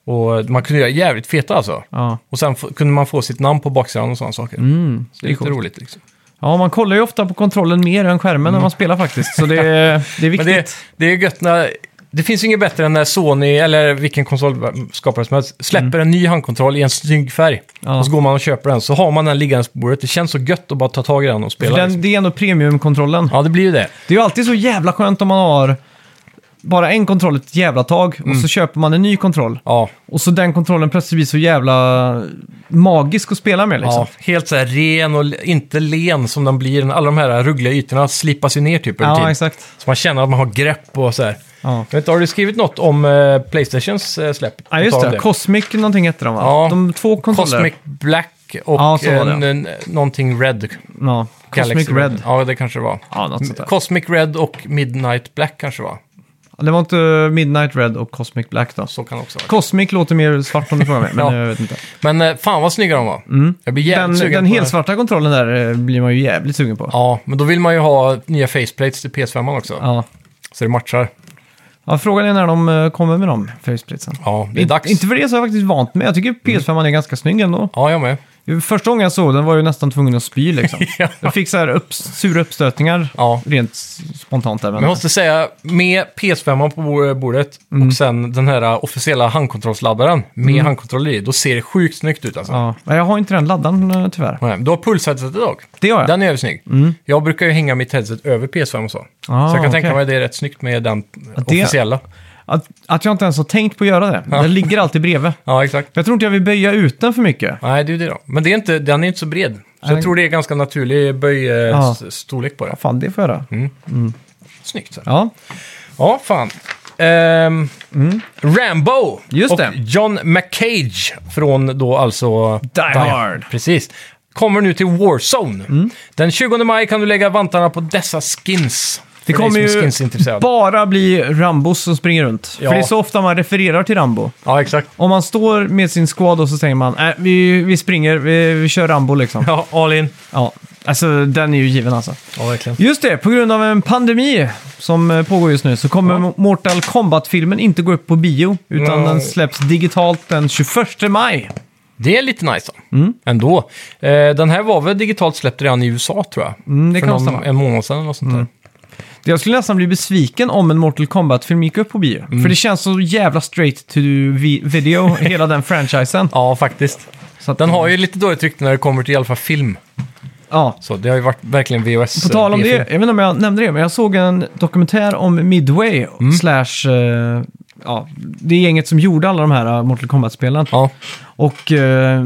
Och eh, man kunde göra jävligt feta alltså. Ja. Och sen f- kunde man få sitt namn på baksidan och sådana saker. Så det är Mm. det är lite coolt. roligt liksom. Ja, man kollar ju ofta på kontrollen mer än skärmen när man spelar faktiskt. Så det, det är viktigt. Mm. [laughs] Men det, det är gött när... Det finns ju inget bättre än när Sony, eller vilken konsolskapare som helst, släpper en ny handkontroll i en snygg färg. Mm. Ja. Och så går man och köper den, så har man den liggandes på bordet. Det känns så gött att bara ta tag i den och För spela. den, liksom. det är ändå premiumkontrollen. Ja, det blir ju det. Det är ju alltid så jävla skönt om man har bara en kontroll ett jävla tag Mm. och så köper man en ny kontroll. Ja, Och så den kontrollen plötsligt blir så jävla magisk att spela med liksom. ja. helt så här ren och l- inte len som den blir. Alla de här rugliga ytorna slipas ju ner typ över Ja, tid. exakt. Så man känner att man har grepp och så här. Ja. Jag vet, inte, har du skrivit något om eh, Playstations eh, släpp? Ja, just På tal det. om Cosmic någonting hette de va? Ja. De två kontroller. Cosmic Black och Ja, så var det, eh, ja. n- någonting Red. Ja. Cosmic Galaxy Red. Ja, det kanske det var. Ja, något sånt där. Cosmic Red och Midnight Black kanske det var. Det var inte Midnight Red och Cosmic Black då. Så kan det också vara. Cosmic låter mer svart om du frågar mig, men Ja. jag vet inte. Men eh, fan vad snygga de var. Jag blir jävligt Mm. Den, sugen den på helsvarta kontrollen där eh, blir man ju jävligt sugen på. Ja, men då vill man ju ha nya faceplates till PS5 också. Ja. Så det matchar. Ja, frågan är när de eh, kommer med dem, faceplitesen. Ja, det är dags. Mm. Inte för det så har jag faktiskt vant mig. Jag tycker PS5 är ganska snygg ändå. Ja, jag med. Första gången jag såg den var jag ju nästan tvungen att spy liksom. [laughs] Ja. Jag fick så här upp, sura uppstötningar Ja. rent s- spontant där. Men, Men jag måste säga, med PS5 på bo- eh, bordet Mm. och sen den här eh, officiella handkontrollsladdaren med handkontroll i, då ser det sjukt snyggt ut alltså. ja. Men jag har inte den laddaren eh, tyvärr. Nej, Du har pulsheadsetet dock. Det har jag. Den är ju snygg. Jag brukar ju hänga mitt headset över PS5 och så. Mm. Ah, så jag kan okej. tänka mig att det är rätt snyggt med den det- officiella. Att, att jag inte ens har tänkt på att göra det. Den ligger alltid bredvid. Ja, exakt. Jag tror inte jag vill böja ut den för mycket. Nej, det är ju det då. Men det är inte, den är inte så bred. Så Nej. jag tror det är ganska naturlig Ja. böjstorlek på det. Fan, det får jag göra. Mm. Snyggt. Så. Ja, Ja, fan. Ehm, Rambo Mm. Just och det. John McCage från då alltså... Die Hard. Mm. Precis. Kommer nu till Warzone. Den 20 maj kan du lägga vantarna på dessa skins. det För dig kommer som ju är skinsintresserad. bara bli Rambos som springer runt. Ja. För det är så ofta man refererar till Rambo. Ja, exakt. Om man står med sin squad och så säger man äh, vi, vi springer, vi, vi kör Rambo liksom. Ja, all in. Ja, alltså den är ju given alltså. Ja, verkligen. Just det, på grund av en pandemi som eh, pågår just nu så kommer Mortal Kombat-filmen inte gå upp på bio utan Nej. den släpps digitalt den 21 maj. Det är lite nice då. Mm. Ändå. Eh, den här var väl digitalt släppt redan i USA tror jag. Mm, det För kan någon, stämma. Mm. en månad sedan eller något sånt där. Jag skulle nästan bli besviken om en Mortal Kombat-film gick upp på bio. För det känns så jävla straight to vi- [laughs] video, hela den franchisen. Ja, faktiskt. Så att, Den har ju lite dåligt rykte när det kommer till i alla fall film. Ja. Så det har ju varit verkligen VHS. På tal om det, jag BFO. vet inte om jag nämnde det, men jag såg en dokumentär om Midway slash... eh, ja, det gänget som gjorde alla de här eh, Mortal Kombat-spelen. Ja, Och eh,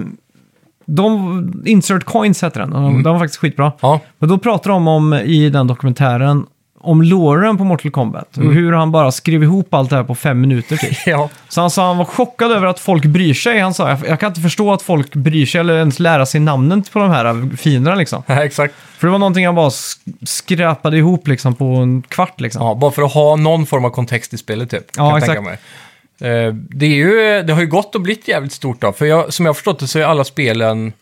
de... Insert Coins heter den. och Mm. De, de var faktiskt skitbra. ja, [laughs] Men då pratar de om i den dokumentären om låren på Mortal Kombat. Mm. Och hur han bara skrev ihop allt det här på fem minuter typ. ja. Så han sa han var chockad över att folk bryr sig. Han sa jag, jag kan inte förstå att folk bryr sig eller ens lära sig namnen på de här fienderna liksom. ja exakt. För det var någonting han bara sk- skräpade ihop liksom på en kvart liksom. Ja, bara för att ha någon form av kontext i spelet typ. kan Ja, jag tänka exakt. mig. Eh, Det, är ju, det har ju gått och blivit jävligt stort då. För jag, som jag har förstått det så är alla spelen...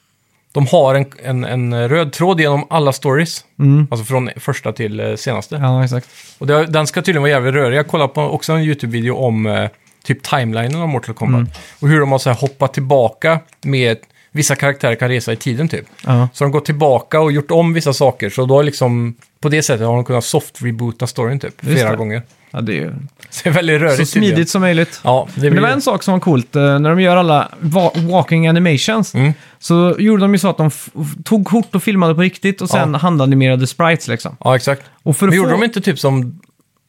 De har en, en, en röd tråd genom alla stories. Mm. Alltså från första till eh, senaste. Ja, exakt. Och det, den ska tydligen vara jävligt rörig. Jag kollade på också en YouTube-video om eh, typ timelinen av Mortal Kombat. Mm. Och hur de har så här hoppat tillbaka med... Vissa karaktärer kan resa i tiden typ. Ja. Så de har gått tillbaka och gjort om vissa saker. Så då har liksom... På det sättet har de kunnat soft-reboota storyn typ. Just flera det. gånger. [laughs] Ja, det är ju Så det är väldigt rörigt. så tydligen. smidigt som möjligt. Ja, det Men det blir var en sak som var coolt, eh, när de gör alla wa- walking animations Mm. så gjorde de ju så att de f- tog kort och filmade på riktigt och sen handanimerade sprites liksom. Ja, exakt. Och för Men att gjorde få- de inte typ som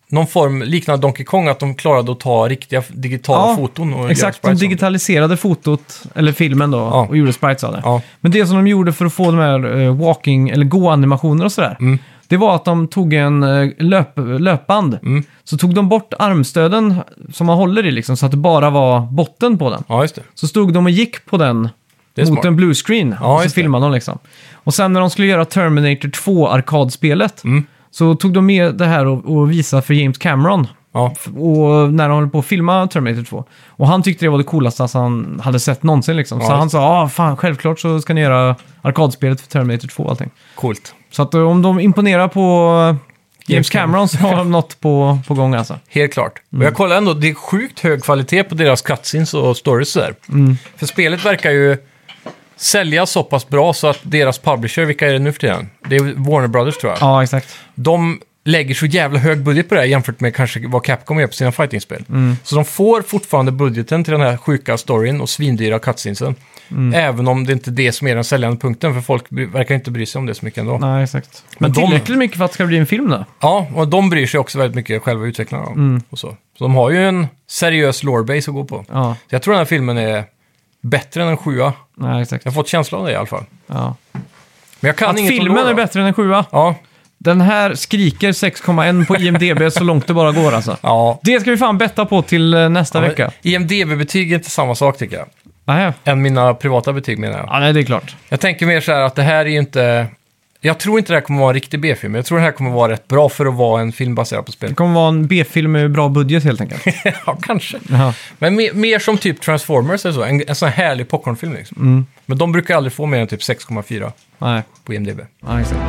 någon form liknande Donkey Kong, att de klarade att ta riktiga digitala Ja, foton? Och göra Exakt, de sprites av det? digitaliserade fotot, eller filmen då, Ja. och gjorde sprites av det. Ja, Men det som de gjorde för att få de här eh, walking, eller gå-animationer och sådär, Mm. det var att de tog en eh, löp, löpband, Mm. så tog de bort armstöden som man håller i liksom, så att det bara var botten på den. ja just det. Så stod de och gick på den Det är mot smart. en bluescreen Ja, och så just det. filmade de liksom. Och sen när de skulle göra Terminator 2-arkadspelet Mm. så tog de med det här och, och visade för James Cameron. Ja, F- Och när de höll på att filma Terminator 2. Och han tyckte det var det coolaste han hade sett någonsin liksom. så Ja, han sa, ah fan självklart så ska ni göra arkadspelet för Terminator 2 och allting. coolt. Så att eh, om de imponerar på eh, James James Cameron så har de något på, på gång alltså. Helt klart. Och jag kollar ändå, det är sjukt hög kvalitet på deras cutscenes och stories där. Mm. För spelet verkar ju sälja så pass bra så att deras publisher, vilka är det nu för tiden? Det är Warner Brothers tror jag. Ja, exakt. de lägger så jävla hög budget på det här jämfört med kanske vad Capcom gör på sina fightingspel. Mm. Så de får fortfarande budgeten till den här sjuka storyn och svindyra cutscenesen. Mm. Även om det inte är det som är den säljande punkten, för folk bry- verkar inte bry sig om det så mycket ändå. Nej, exakt. Men, Men de- tillräckligt mycket för att det ska bli en film då? Ja, och de bryr sig också väldigt mycket, själva utvecklarna. Mm. Och så. så de har ju en seriös lorebase att gå på. Ja, Så jag tror den här filmen är bättre än en sjua. nej, exakt. Jag har fått känslan av det i alla fall. Ja. Men jag kan Att inget om filmen lore, är då. bättre än en sjua. Ja, Den här skriker 6,1 på IMDB så långt det bara går alltså. [laughs] ja. Det ska vi fan betta på till eh, nästa vecka. IMDB-betyg är inte samma sak tycker jag. Nej. Än mina privata betyg menar jag. Ja, nej, det är klart. Jag tänker mer så här att det här är ju inte... Jag tror inte det här kommer vara en riktig B-film. Jag tror det här kommer vara rätt bra för att vara en film baserad på spel. Det kommer vara en B-film med bra budget helt [laughs] enkelt. ja, kanske. Jaha. Men mer, mer som typ Transformers eller så. En, en sån här härlig popcornfilm liksom. Mm. Men de brukar aldrig få mer än typ 6,4 Nej. på IMDB. Ja, exakt.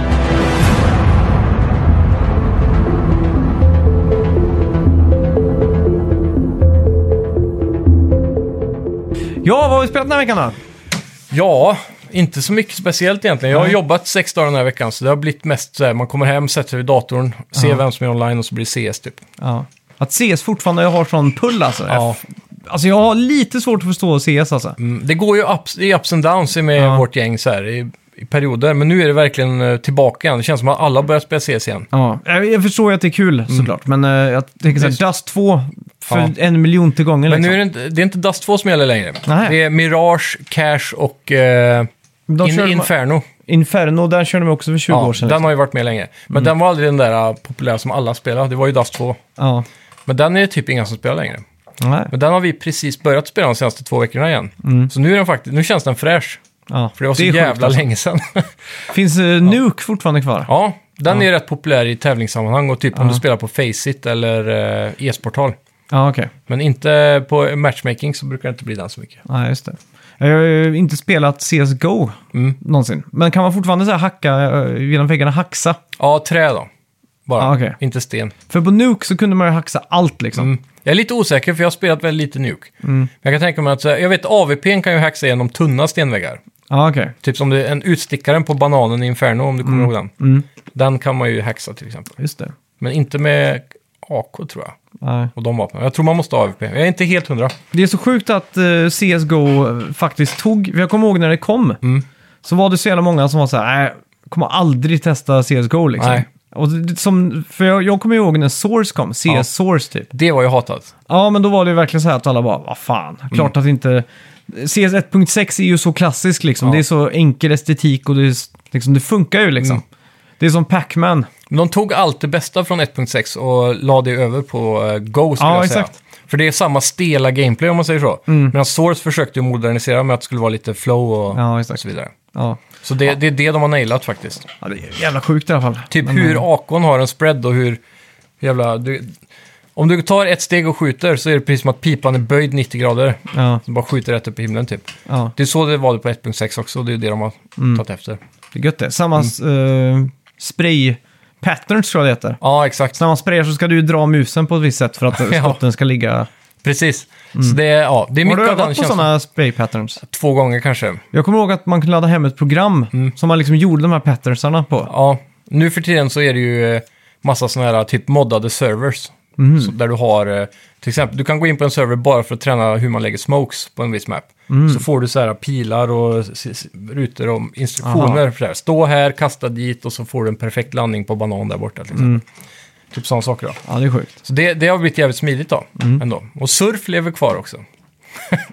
Ja, vad har vi spelat den här veckan då? Ja, inte så mycket speciellt egentligen. Jag har Nej. jobbat sex dagar den här veckan så det har blivit mest så här. Man kommer hem, sätter sig vid datorn, ser vem som är online och så blir det CS typ. Ja. Att CS fortfarande har sån pull alltså. Ja. Alltså jag har lite svårt att förstå CS alltså. Mm, Det går ju ups, det är ups and downs med Ja. vårt gäng så här i, i perioder. Men nu är det verkligen eh, tillbaka igen. Det känns som att alla börjar spela CS igen. Ja, jag Eh, jag förstår ju att det är kul såklart, men eh, jag tänker såhär, Dust 2 för Ja. en miljon till gången Men liksom. nu är det inte, det är inte Dust 2 som gäller längre. Nej. Det är Mirage, Cash och eh, De In, körde- Inferno. Inferno, den körde de också för 20 år Ja, sedan. den har ju varit med länge. Men Mm. den var aldrig den där eh, populära som alla spelade. Det var ju Dust 2. liksom. Ja. Men den är det typ inga som spelar längre. Nej. Men den har vi precis börjat spela de senaste två veckorna igen. Så nu, är den faktiskt, nu känns den fräsch. Ja. För det var så Mm. är sjukt, jävla alltså. länge sedan. [laughs] Finns eh, Nuke fortfarande kvar? ja, den är ju rätt populär i tävlingssammanhang och typ om du spelar på Faceit eller eh, e-sporthal. Ja, okej. Men inte på matchmaking så brukar det inte bli den så mycket. Nej, just det. Jag har ju inte spelat CSGO Mm. någonsin. Men kan man fortfarande så här hacka eh, genom väggarna, haxa? Ja, trä då. Bara, Ja, okej. inte sten. För på Nuke så kunde man ju haxa allt liksom. Mm. Jag är lite osäker för jag har spelat väldigt lite Nuke. Mm. Men jag kan tänka mig att, så här, jag vet AVP'n kan ju hacka sig genom tunna stenväggar. Ja, okej. Typ som det, en utstickaren på bananen i Inferno om du kommer ihåg den. Mm. Den kan man ju hacksa till exempel. Just det. Men inte med AK tror jag. Nej. Och de vapnen. Jag tror man måste ha AVP. Jag är inte helt hundra. Det är så sjukt att eh, Mm. CSGO faktiskt tog, jag kommer ihåg när det kom, så var det så jävla många som var så här, "Nej, kommer aldrig testa CSGO liksom. Nej. Och det- som, för jag, jag kommer ihåg när Source kom, CS Ja. Source typ. Det var ju hatat. Ja, men då var det ju verkligen så här att alla bara, vad fan, Mm. klart att inte... CS 1.6 är ju så klassisk liksom, Ja. det är så enkel estetik och det, är, s- liksom, det funkar ju liksom. Mm. Det är som Pac-Man. Men de tog allt det bästa från 1.6 och la det över på eh, Go, skulle Ja, jag säga. exakt. Mm. För det är samma stela gameplay, om man säger så. Medan Source försökte ju modernisera med att det skulle vara lite flow och, Ja, och exakt. så vidare. Ja. Så det, det är det de har nailat faktiskt. ja, det är jävla sjukt i alla fall. Typ Men, eh, hur Akon har en spread och hur jävla... Du, om du tar ett steg och skjuter så är det precis som att pipan är böjd 90 grader. Ja, Så bara skjuter rätt upp i himlen typ. ja, Det är så det var det på 1.6 också och det är det de har Mm. tagit efter. det är gött det. Samma eh, spray patterns tror jag det heter. Ja, exakt. Så när man sprayar så ska du ju dra musen på ett visst sätt för att [laughs] Ja. skotten ska ligga... Precis. Så det är, ja, det är Mm. Har du mycket övat av den på känslan. sådana spray patterns? Två gånger kanske. Jag kommer ihåg att man kunde ladda hem ett program som man liksom gjorde de här patternsarna på. Mm. Ja, nu för tiden så är det ju eh, massa sådana här typ moddade servers. Så där du har, eh, till exempel, du kan gå in på en server bara för att träna hur man lägger smokes på en viss map. Så får du så här pilar och s- s- rutor och instruktioner. För det här. Stå här, kasta dit och så får du en perfekt landning på banan där borta. Liksom. Typ sådana saker då. Ja, det är sjukt. Så det, det har blivit jävligt smidigt då, ändå. Och surf lever kvar också,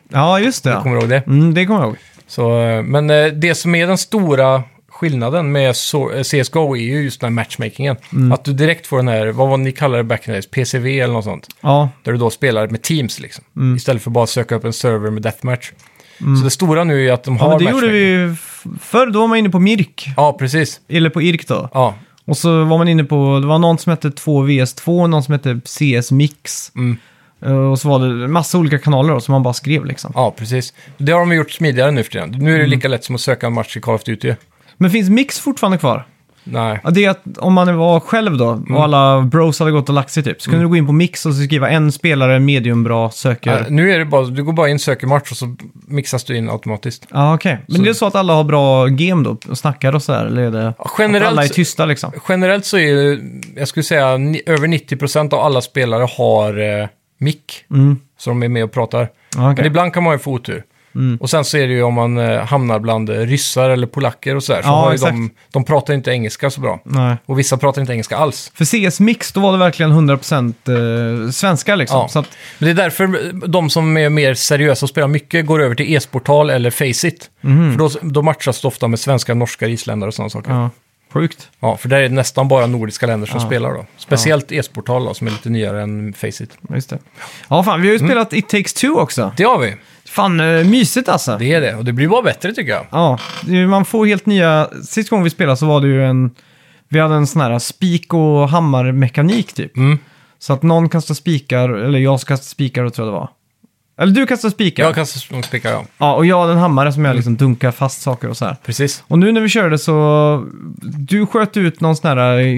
Ja, just det. kommer du ihåg det? Mm, det kommer jag ihåg. Så, eh, men eh, det som är den stora skillnaden med so- eh, CSGO är ju just den här matchmakingen. Mm. Att du direkt får den här, vad var ni kallade det back in the days, PCV eller något sånt. Ja, Där du då spelar med teams liksom. Mm. Istället för bara att söka upp en server med deathmatch. Så det stora nu är ju att de har ja men det matchmaking. gjorde vi ju f- förr. Då var man inne på Mirk, Ja, precis. eller på IRK då. Ja, Och så var man inne på, det var någon som hette 2VS2 och någon som hette CS Mix. Mm. Eh, Och så var det massa olika kanaler då, som man bara skrev liksom. ja, precis. Det har de gjort smidigare nu för tiden. Nu är det Mm. lika lätt som att söka en match i Call of Duty. Men finns Mix fortfarande kvar? Nej. Ja, det är att om man var själv då, Mm. och alla bros hade gått och lagt sig typ, så kunde du gå in på Mix och så skriva en spelare mediumbra söker. Nej, Eh, Nu är det bara, du går bara in, söker match och så mixas du in automatiskt. Ja, okej. Men det är så att alla har bra game då och snackar och så här? Eller är det Ja, generellt att alla är så- tysta liksom? Generellt så är ju, jag skulle säga, ni- över 90% av alla spelare har eh, mick. Så de är med och pratar. Ja, Mm. okej. Mm. Men ibland kan man ju få otur. Och sen så är det ju om man eh, hamnar bland eh, ryssar eller polacker och sådär. Så Ja, har ju exakt. Mm. de, de pratar ju inte engelska så bra. Nej. Och vissa pratar inte engelska alls. För CS Mix, då var det verkligen 100% eh, svenska liksom. Ja. Så att, Men det är därför de som är mer seriösa och spelar mycket går över till e-sportal eller Faceit. Mhm. För då, då matchas det ofta med svenskar, norskar, isländare och sådana saker. Ja. ja. Sjukt. för där är det nästan bara nordiska länder som Ja. spelar då. Speciellt e-sportal då, som är lite nyare än Faceit. Ja, Just det. Ja, fan, vi har ju Mm. spelat It takes two också. Det har vi. Fan, eh, mysigt alltså. Det är det, och det blir bara bättre tycker jag. Ja, det är- man får helt nya... Sist gången vi spelade så var det ju en... Vi hade en sån här spik och hammarmekanik typ. Mm. Så att någon kastar spikar, eller jag ska kasta spikar då tror jag det var. Eller du kastar spikar. Jag kan spika, ja. Ja, och jag hade en hammare som jag liksom dunkar fast saker och så här. Precis. Och nu när vi körde så... Du sköt ut någon sån här... eh,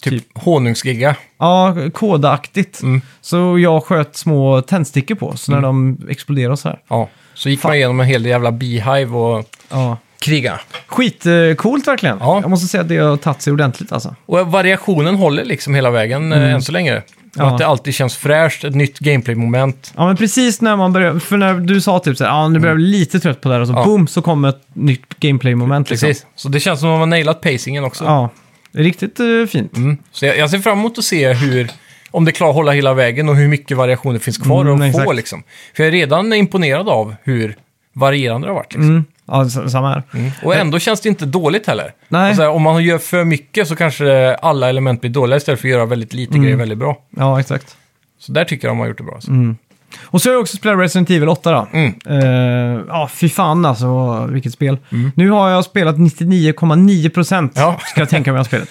Typ, Typ honungsgiga. Ja, kodaktigt. Mm. Så jag sköt små tändstickor på, så när de exploderade så här. Ja. Så gick man igenom en hel jävla beehive och Ja. kriga. Skitcoolt eh, verkligen. Ja. Jag måste säga att det har tagit sig ordentligt alltså. Och variationen håller liksom hela vägen eh, än så länge. Och Mm. Ja. att det alltid känns fräscht, ett nytt gameplay-moment. Ja, men precis när man börjar... För när du sa typ så här, ja, nu börjar jag bli lite trött på det här och så Ja. boom, så kommer ett nytt gameplay-moment liksom. Precis. Så det känns som att man har nailat pacingen också. Ja, det är riktigt eh, fint. Mm. Så jag, jag ser fram emot att se hur, om det klarar att hålla hela vägen och hur mycket variationer finns kvar Mm, att få exakt. liksom. För jag är redan imponerad av hur varierande det har varit. Liksom. Mm. Ja, s- samma här. Och ändå känns det inte dåligt heller. Mm. Nej. Alltså, om man gör för mycket så kanske alla element blir dåliga istället för att göra väldigt Mm. lite grejer väldigt bra. Ja, exakt. Så där tycker jag de har gjort det bra. Alltså. Mm. Och så har jag också spelat Resident Evil 8 då. Mm. Eh, Ja, fy fan alltså, vilket spel. Nu har jag spelat 99,9% Mm. Ja. ska jag tänka mig av spelet.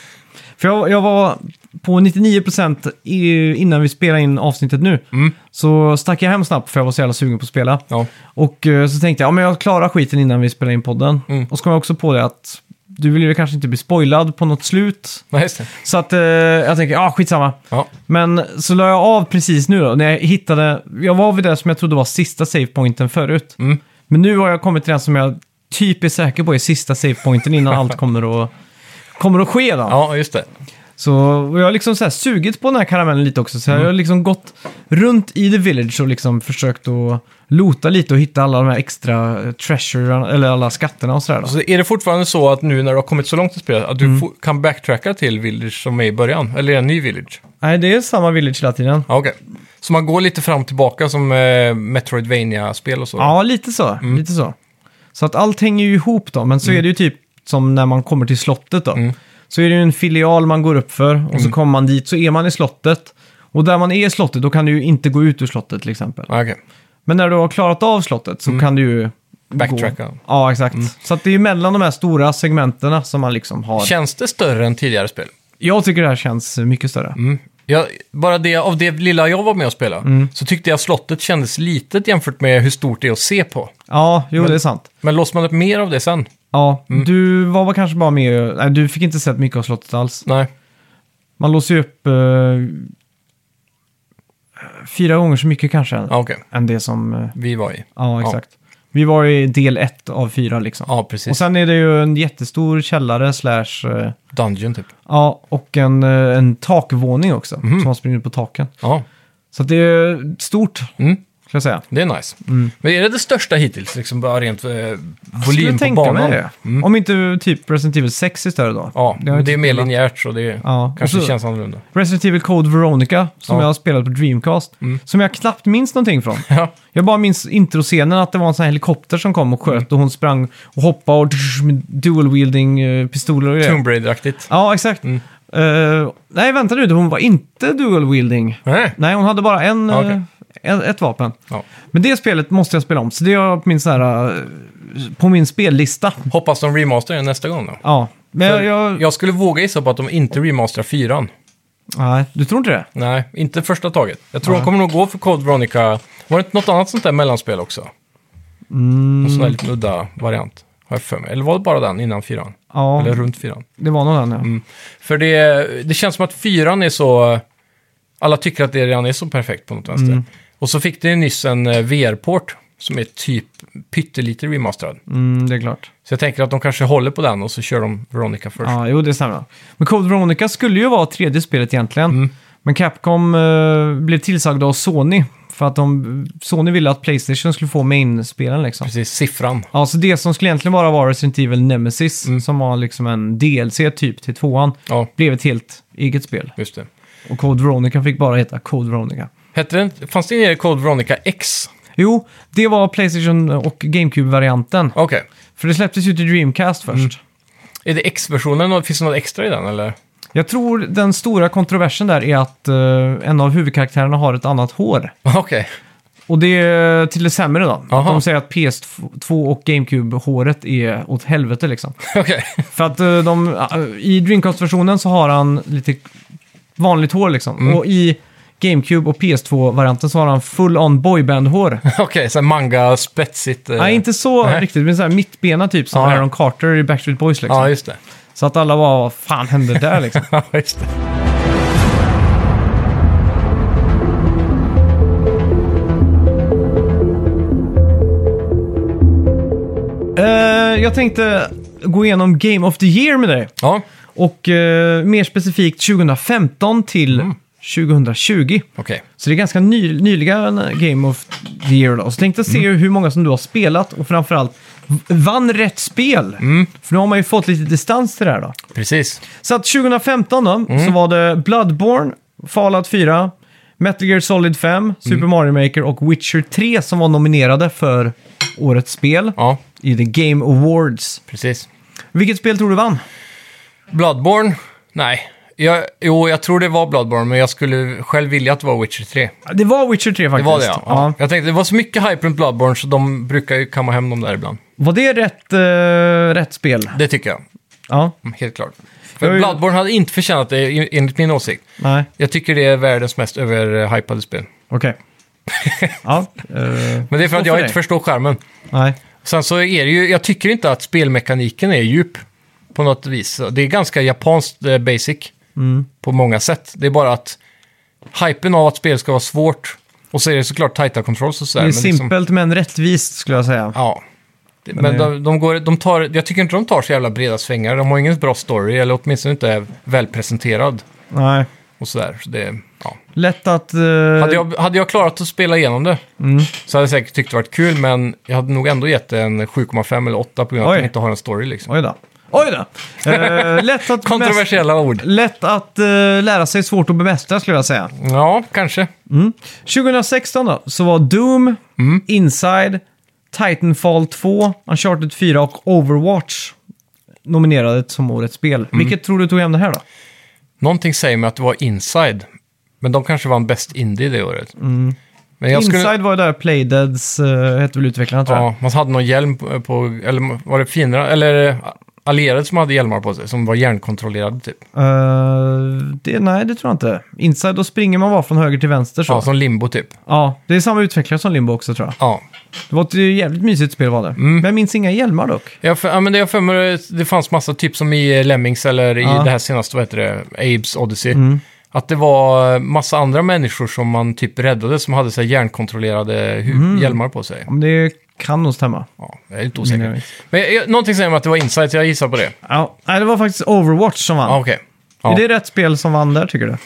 För jag, jag var på 99% i, innan vi spelade in avsnittet nu. Så stack jag hem snabbt för jag var så jävla sugen på att spela. Mm. Ja. Och eh, så tänkte jag, ja men jag klarar skiten innan vi spelar in podden. Mm. Och så kom jag också på det att du vill ju kanske inte bli spoilad på något slut. Nej, just det. Så att eh, jag tänker, ja skitsamma. Ja. Men så la jag av precis nu då, när jag hittade, jag var vid det som jag trodde var sista savepointen förut. Mm. Men nu har jag kommit till den som jag [laughs] typ är säker på är sista savepointen innan allt kommer att, kommer att ske då. ja, just det. Så och jag har liksom så här sugit på den här karamellen lite också. Så jag har liksom gått runt i The Village och liksom försökt att lota lite och hitta alla de här extra eh, treasure, eller alla skatterna och sådär. då. Så är det fortfarande så att nu när du har kommit så långt i spelet, att du Mm. fo- kan backtracka till Village som är i början? Eller är det en ny Village? Nej, det är samma Village hela tiden. Ja, okej. Så man går lite fram och tillbaka som eh, Metroidvania-spel och så? Ja, lite så. Lite så. Så att allt hänger ju ihop då, men så är det ju typ som när man kommer till slottet då. Så är det ju en filial man går upp för och så kommer man dit så är man i slottet. Och där man är i slottet då kan du ju inte gå ut ur slottet till exempel. Ja, okej. Men när du har klarat av slottet så kan du ju... Mm. Backtracka. Mm. Gå. Ja, exakt. Så att det är ju mellan de här stora segmenterna som man liksom har. Känns det större än tidigare spel? Jag tycker det här känns mycket större. Mm. Jag, bara det, av det lilla jag var med och spelade, Mm. så tyckte jag slottet kändes litet jämfört med hur stort det är att se på. Ja, jo det är sant. Men Mm. låser man upp mer av det sen? Ja, du var väl kanske bara med... Nej, du fick inte sett mycket av slottet alls. Nej. Man låser ju upp eh, fyra gånger så mycket kanske Ja, okej. än det som... eh, Vi var i. ja, exakt. Vi var i del ett av fyra liksom. Ja, precis. och sen är det ju en jättestor källare slash... eh, Dungeon typ. ja, och en, eh, en takvåning också. Mhm. Som man springer ut på taken. Ja, Så att det är stort, Mm. ska jag säga. det är nice. Men är det det största hittills? Liksom bara rent eh, volym Mm. Skulle på tänka mig banan? Mm. det. Om inte typ Resident Evil 6 är större då. Ja, har jag det är inte mer spelat. linjärt så det Ja, kanske och så- känns annorlunda. [laughs] Resident Evil Code Veronica, som Ja. Mm. jag har spelat på Dreamcast. Som jag knappt minns någonting från. Ja, Jag bara minns introscenen att det var en sån här helikopter som kom och sköt Mm. och hon sprang och hoppade och tsch, med dual-wielding eh, pistoler och grejer. Tomb Raider-aktigt. Ja, exakt. Mm. Eh, nej, vänta nu, hon var inte dual-wielding. Nej. Nej, hon hade bara en, Ah, Okej. eh, en, ett vapen. Ja. Men det spelet måste jag spela om, så det är jag på min, sån här, eh, på min spellista. Hoppas de remasterar den nästa gång då. Ja, men jag... jag Jag skulle våga gissa på att de inte remasterar fyran. Nej, du tror inte det? Nej, inte första taget. Jag tror de kommer nog gå för Code Veronica. Var det inte något annat sånt där mellanspel också? Mm. Någon sån där liten udda variant, har jag för mig. Eller var det bara den innan fyran? Ja, Eller Mm. runt fyran? det var nog den ja. För det, det känns som att fyran är så... Alla tycker att det redan är så perfekt på något vänster. Mm. Och så fick det ju nyss en eh, VR-port som är typ pyttelite remasterad. Mm, det är klart. Så jag tänker att de kanske håller på den och så kör de Veronica först. Ja, jo, det stämmer. Men Code Veronica skulle ju vara tredje spelet egentligen. Mm. Men Capcom eh, blev tillsagda av Sony. För att de, Sony ville att Playstation skulle få main-spelen liksom. Precis, siffran. Ja, så det som skulle egentligen bara vara Resident Evil Nemesis, Mm. som var liksom en DLC typ till tvåan, Ja, blev ett helt eget spel. just det. Och Code Veronica fick bara heta Code Veronica. Hette det, inte- fanns det nere i Code Veronica X? Jo, det var Playstation och GameCube-varianten. Okej. För det släpptes ju till Dreamcast först. Är det X-versionen? och Finns det något extra i den eller? Jag tror den stora kontroversen där är att eh, en av huvudkaraktärerna har ett annat hår. [laughs] Okej. Och det är till det sämre då. Aha. De säger att PS2 och GameCube-håret är åt helvete liksom. Okej. [laughs] För att eh, de, eh, i Dreamcast-versionen så har han lite vanligt hår liksom. Och i GameCube och PS2-varianten så har han full-on boyband-hår. Okej, så här manga spetsigt. eh. Nej, inte så Nej. riktigt, men så här mittbena typ som Ja, ja. Aaron Carter i Backstreet Boys liksom. Ja, just det. Så att alla var, vad fan hände där liksom? [laughs] Ja, just det. Eh, jag tänkte gå igenom Game of the Year med dig. Ja, Och eh, mer specifikt 2015 till Mm. 2020. okej. Så det är ganska ny, nyliga eh, Game of the Year. Då. Så tänkte jag se Mm. hur många som du har spelat och framförallt v- vann rätt spel. Mm. För nu har man ju fått lite distans till det här då. Precis. Så att 2015 då, så Mm. var det Bloodborne, Fallout 4, Metal Gear Solid 5, Mm. Super Mario Maker och Witcher 3 som var nominerade för årets spel Ja, i The Game Awards. precis. Vilket spel tror du vann? Bloodborne? Nej. Jag, jo, jag tror det var Bloodborne, men jag skulle själv vilja att det var Witcher 3. Det var Witcher 3 Det faktiskt. var det, ja. ja. Jag tänkte, det var så mycket hype runt Bloodborne, så de brukar ju kamma hem dem där ibland. Var det rätt, eh, rätt spel? Det tycker jag, Ja, Mm, helt klart. Jag För är- Bloodborne hade inte förtjänat det, i- enligt min åsikt. nej, Jag tycker det är världens mest överhypade spel. [laughs] okej. ja, eh, Men det är för så att jag dig. inte förstår skärmen. Nej, Sen så är det ju, jag tycker inte att spelmekaniken är djup på något vis. Det är ganska japanskt eh, basic Mm. på många sätt. Det är bara att hypen av att spel ska vara svårt och så är det såklart tajta controls och det sådär. är men liksom- simpelt men rättvist skulle jag säga. ja. Men det- de, de, går, de tar, jag tycker inte de tar så jävla breda svängar. De har ingen bra story, eller åtminstone inte välpresenterad. Nej. Och sådär. Så det, ja. Lätt att... eh, hade, jag, hade jag klarat att spela igenom det Mm. så hade jag säkert tyckt det varit kul, men jag hade nog ändå gett det en 7,5 eller 8 på grund av att Oj. den inte har en story. Liksom. Oj då. Oj då! Eh, lätt [laughs] att... bemäst- Kontroversiella ord. Lätt att eh, lära sig, svårt att bemästra skulle jag säga. Ja, kanske. 2016 då, så var Doom, Inside, Titanfall 2, Uncharted 4 och Overwatch nominerade som årets spel. Vilket tror du tog hem det här då? Någonting säger mig att det var Inside, men de kanske vann bäst indie det året. Men Mm. Inside var ju där Playdeads uh, hette väl utvecklarna tror jag. Ja, man hade någon hjälm på, på eller var det finare, eller allierade som hade hjälmar på sig, som var hjärnkontrollerade typ. Eh, det, nej, det tror jag inte. Inside, då springer man bara från höger till vänster så. Ja, Ja, som limbo typ. det är samma utvecklare som Limbo också tror jag. Ja. Det var ett eh, jävligt mysigt spel var det. Men jag minns inga hjälmar dock. Jag, för, ja, men det jag för mig, det fanns massa typ som i eh, Lemmings eller i Ja. Mm. det här senaste, vad heter det, Abe's Odyssey. Att det var massa andra människor som man typ räddade som hade så här hjärnkontrollerade hu- Mm. hjälmar på sig. Ja, Men det kan nog stämma. Ja, jag är lite Mina osäker. Mm, vet. Men jag, jag, någonting säger mig att det var Insight, jag gissar på det. Ja, nej, det var faktiskt Overwatch som vann. Ja, okej. Ja. Är det rätt spel som vann där tycker du?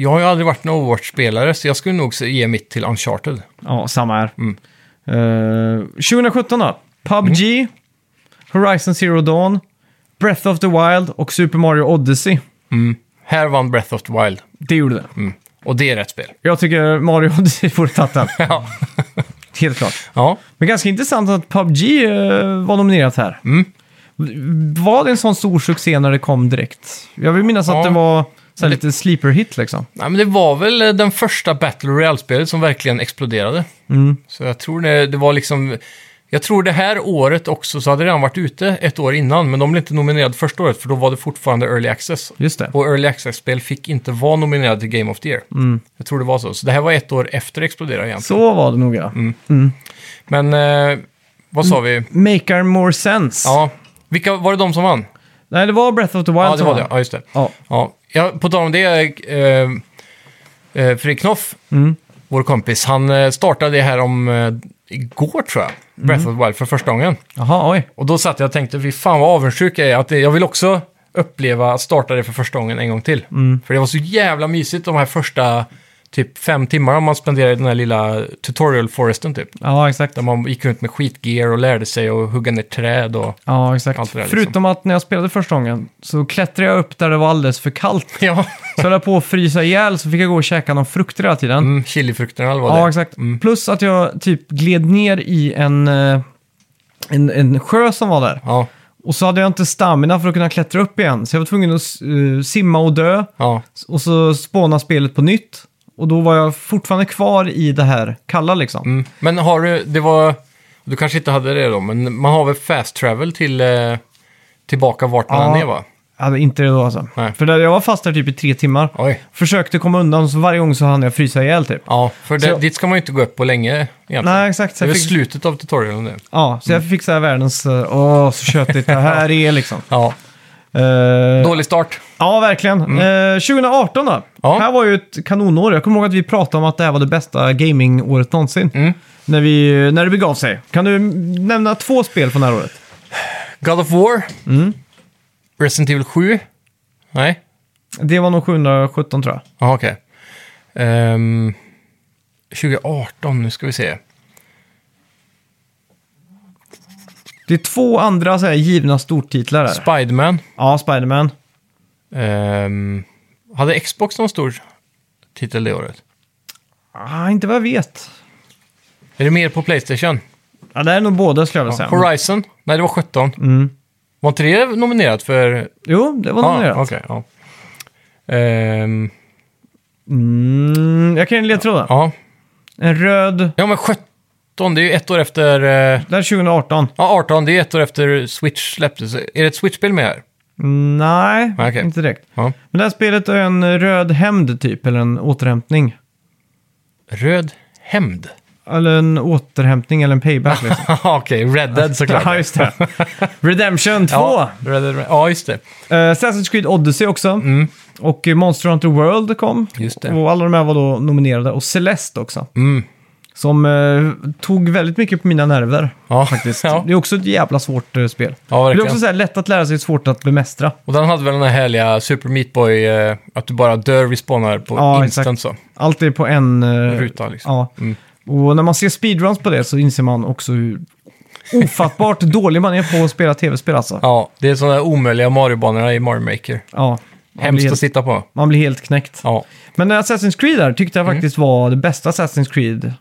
Jag har ju aldrig varit en Overwatch-spelare, så jag skulle nog se- ge mitt till Uncharted. Ja, samma här. Mm. Eh, 2017 då? PubG, Horizon Zero Dawn, Breath of the Wild och Super Mario Odyssey. Här vann Breath of the Wild. Det gjorde det. Mm. Och det är rätt spel. Jag tycker Mario Odyssey borde tagit [laughs] den. Ja. Helt klart. ja. Men ganska intressant att PubG eh, var nominerat här. Mm. Var det en sån stor succé när det kom direkt? Jag vill minnas Ja. att det var så här lite sleeper hit liksom. Nej, men det var väl eh, den första Battle Royale-spelet som verkligen exploderade. Mm. Så jag tror det, det var liksom... Jag tror det här året också så hade det redan varit ute ett år innan, men de blev inte nominerade första året för då var det fortfarande Early Access. Just det. Och Early Access-spel fick inte vara nominerade till Game of the Year. Jag tror det var så. Så det här var ett år efter det exploderade egentligen. Mm. Så var det nog ja. Mm. Men eh, vad sa Mm. vi? Maker more sense. Ja, vilka var det de som vann? Nej, det var Breath of the Wild Ja, det som var vann. det. Ja, just det. Ja. Ja, ja på tal om det, eh, eh, Fredrik Knoff, Mm. vår kompis, han eh, startade det här om eh, igår tror jag, Mm. Breath of the Wild, för första gången. Jaha, oj. Och då satt jag och tänkte, fy fan vad avundsjuk jag är, att det, jag vill också uppleva att starta det för första gången en gång till. Mm. För det var så jävla mysigt de här första typ fem timmarna man spenderade i den här lilla tutorial foresten typ. Ja, exakt. Där man gick runt med skitgear och lärde sig att hugga ner träd och... Ja, exakt. Allt liksom- det där, Förutom att när jag spelade första gången så klättrade jag upp där det var alldeles för kallt. Ja, Så höll jag på att frysa ihjäl så fick jag gå och käka någon frukt hela tiden. mm, chilifrukterna eller vad det mm. ja, är. exakt. Plus att jag typ gled ner i en, eh, en, en sjö som var där. Ja, Och så hade jag inte stamina för att kunna klättra upp igen. Så jag var tvungen att eh, simma och dö. ja. Och så spåna spelet på nytt. Och då var jag fortfarande kvar i det här kalla liksom. Mm. Men har du, det var, du kanske inte hade det då, men man har väl fast travel till eh, tillbaka vart man Ja. än är va? Ja, det är inte det då alltså. Nej. För där, jag var fast där typ i tre timmar. Oj. Försökte komma undan, så varje gång så hann jag frysa ihjäl typ. Ja, för det, Så- dit ska man ju inte gå upp på länge egentligen. Nej, exakt. Så det är jag väl fick, slutet av tutorialen nu. ja, så jag fick så här världens... eh, Åh, så tjötigt det här är liksom. Ja, Eh, dålig start. ja, verkligen. Eh, 2018 då. Mm. Ja. Här var ju ett kanonår. Jag kommer ihåg att vi pratade om att det här var det bästa gamingåret någonsin. Mm. När, vi, när det begav sig. Kan du nämna två spel från det här året? God of War. Mm. Resident Evil 7. Nej, Det var nog 717 tror jag. ja okej. Ehm, 2018, nu ska vi se. Det är två andra så här, givna stortitlar där. Spiderman. ja, Spiderman. Ehm, hade Xbox någon stor titel det året? Ah, inte vad jag vet. Är det mer på Playstation? Ja, Mm. det är nog båda skulle jag vilja säga. Horizon? Nej, det var 17. Var inte det nominerat för... Jo, det var nominerat. Ah, okej, ja. Ehm, mm, jag kan ge en ledtråd. ja. En röd... ja, men 17, det är ju ett år efter... eh, Där 2018. Ja, 18, det är ett år efter Switch släpptes. Är det ett Switch-spel med här? Mm, Nej, Nej, okej. inte direkt. Ja. Men det här spelet är en röd hämnd typ, eller en återhämtning. Röd hämnd. [laughs] Eller en återhämtning eller en payback liksom. Ja, okej. Red Dead såklart. [laughs] ja, just det. [laughs] Redemption 2! ja, Red Dead, Red- ja, just det. Eh, Assassin's Creed Odyssey också. Och eh, Monster Hunter World kom. Mm. Just det. Och alla de här var då nominerade. Och Celeste också. Mm. Som eh, tog väldigt mycket på mina nerver. Ja, Faktiskt. [laughs] Ja, Det är också ett jävla svårt eh, spel. ja Det är också verkligen. så här, lätt att lära sig, svårt att bemästra. Och den hade väl den här härliga Super Meat Boy, eh, att du bara dör respawnar på Ja, instant så. Allt är på en... eh, Ruta liksom. Ja. Mm. Och när man ser speedruns på det så inser man också hur ofattbart [laughs] dålig man är på att spela tv-spel alltså. Ja, det är sådana där omöjliga Mario-banorna i Mario Maker. Ja. Man blir, Hemskt att helt, titta på. man blir helt knäckt. Ja, Mm. Men Assassin's Creed där tyckte jag faktiskt var det bästa Assassin's Creed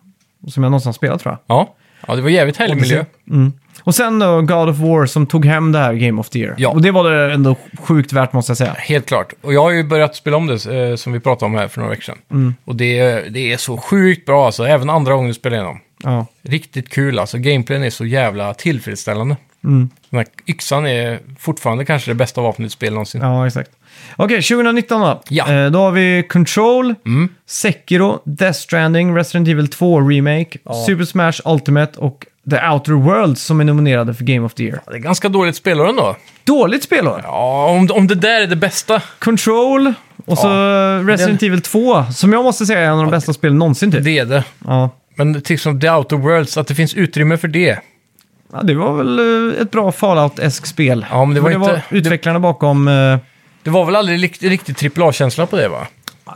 som jag någonsin har spelat tror jag. ja. ja det var jävligt härlig miljö. Och sen då God of War som tog hem det här Game of the Year. Ja. Och det var det ändå sjukt värt måste jag säga. Helt klart. Och jag har ju börjat spela om det eh, som vi pratade om här för några veckor sedan. Och det, det är så sjukt bra alltså, även andra gången du spelar igenom. Ja. Riktigt kul alltså, gameplayen är så jävla tillfredsställande. Mm. Den här yxan är fortfarande kanske det bästa vapnet i ett spel någonsin. Ja, exakt. Okej, 2019 då. Ja. Mm. Eh, då har vi Control, Sekiro, Death Stranding, Resident Evil 2 Remake, Super Smash Ultimate och The Outer Worlds som är nominerade för Game of the Year. Det är ganska dåligt spelare ändå. Dåligt spelår! Ja, om, om det där är det bästa. Control och så Resident Evil 2, som jag måste säga är en av de bästa spelen någonsin typ. Det är det. Ja. Men till som The Outer Worlds, att det finns utrymme för det. ja, det var väl eh, ett bra Fallout-esk spel. Ja, men det För var inte- var utveliklarna bakom... eh, Det var väl aldrig likt- riktigt AAA-känsla på det va?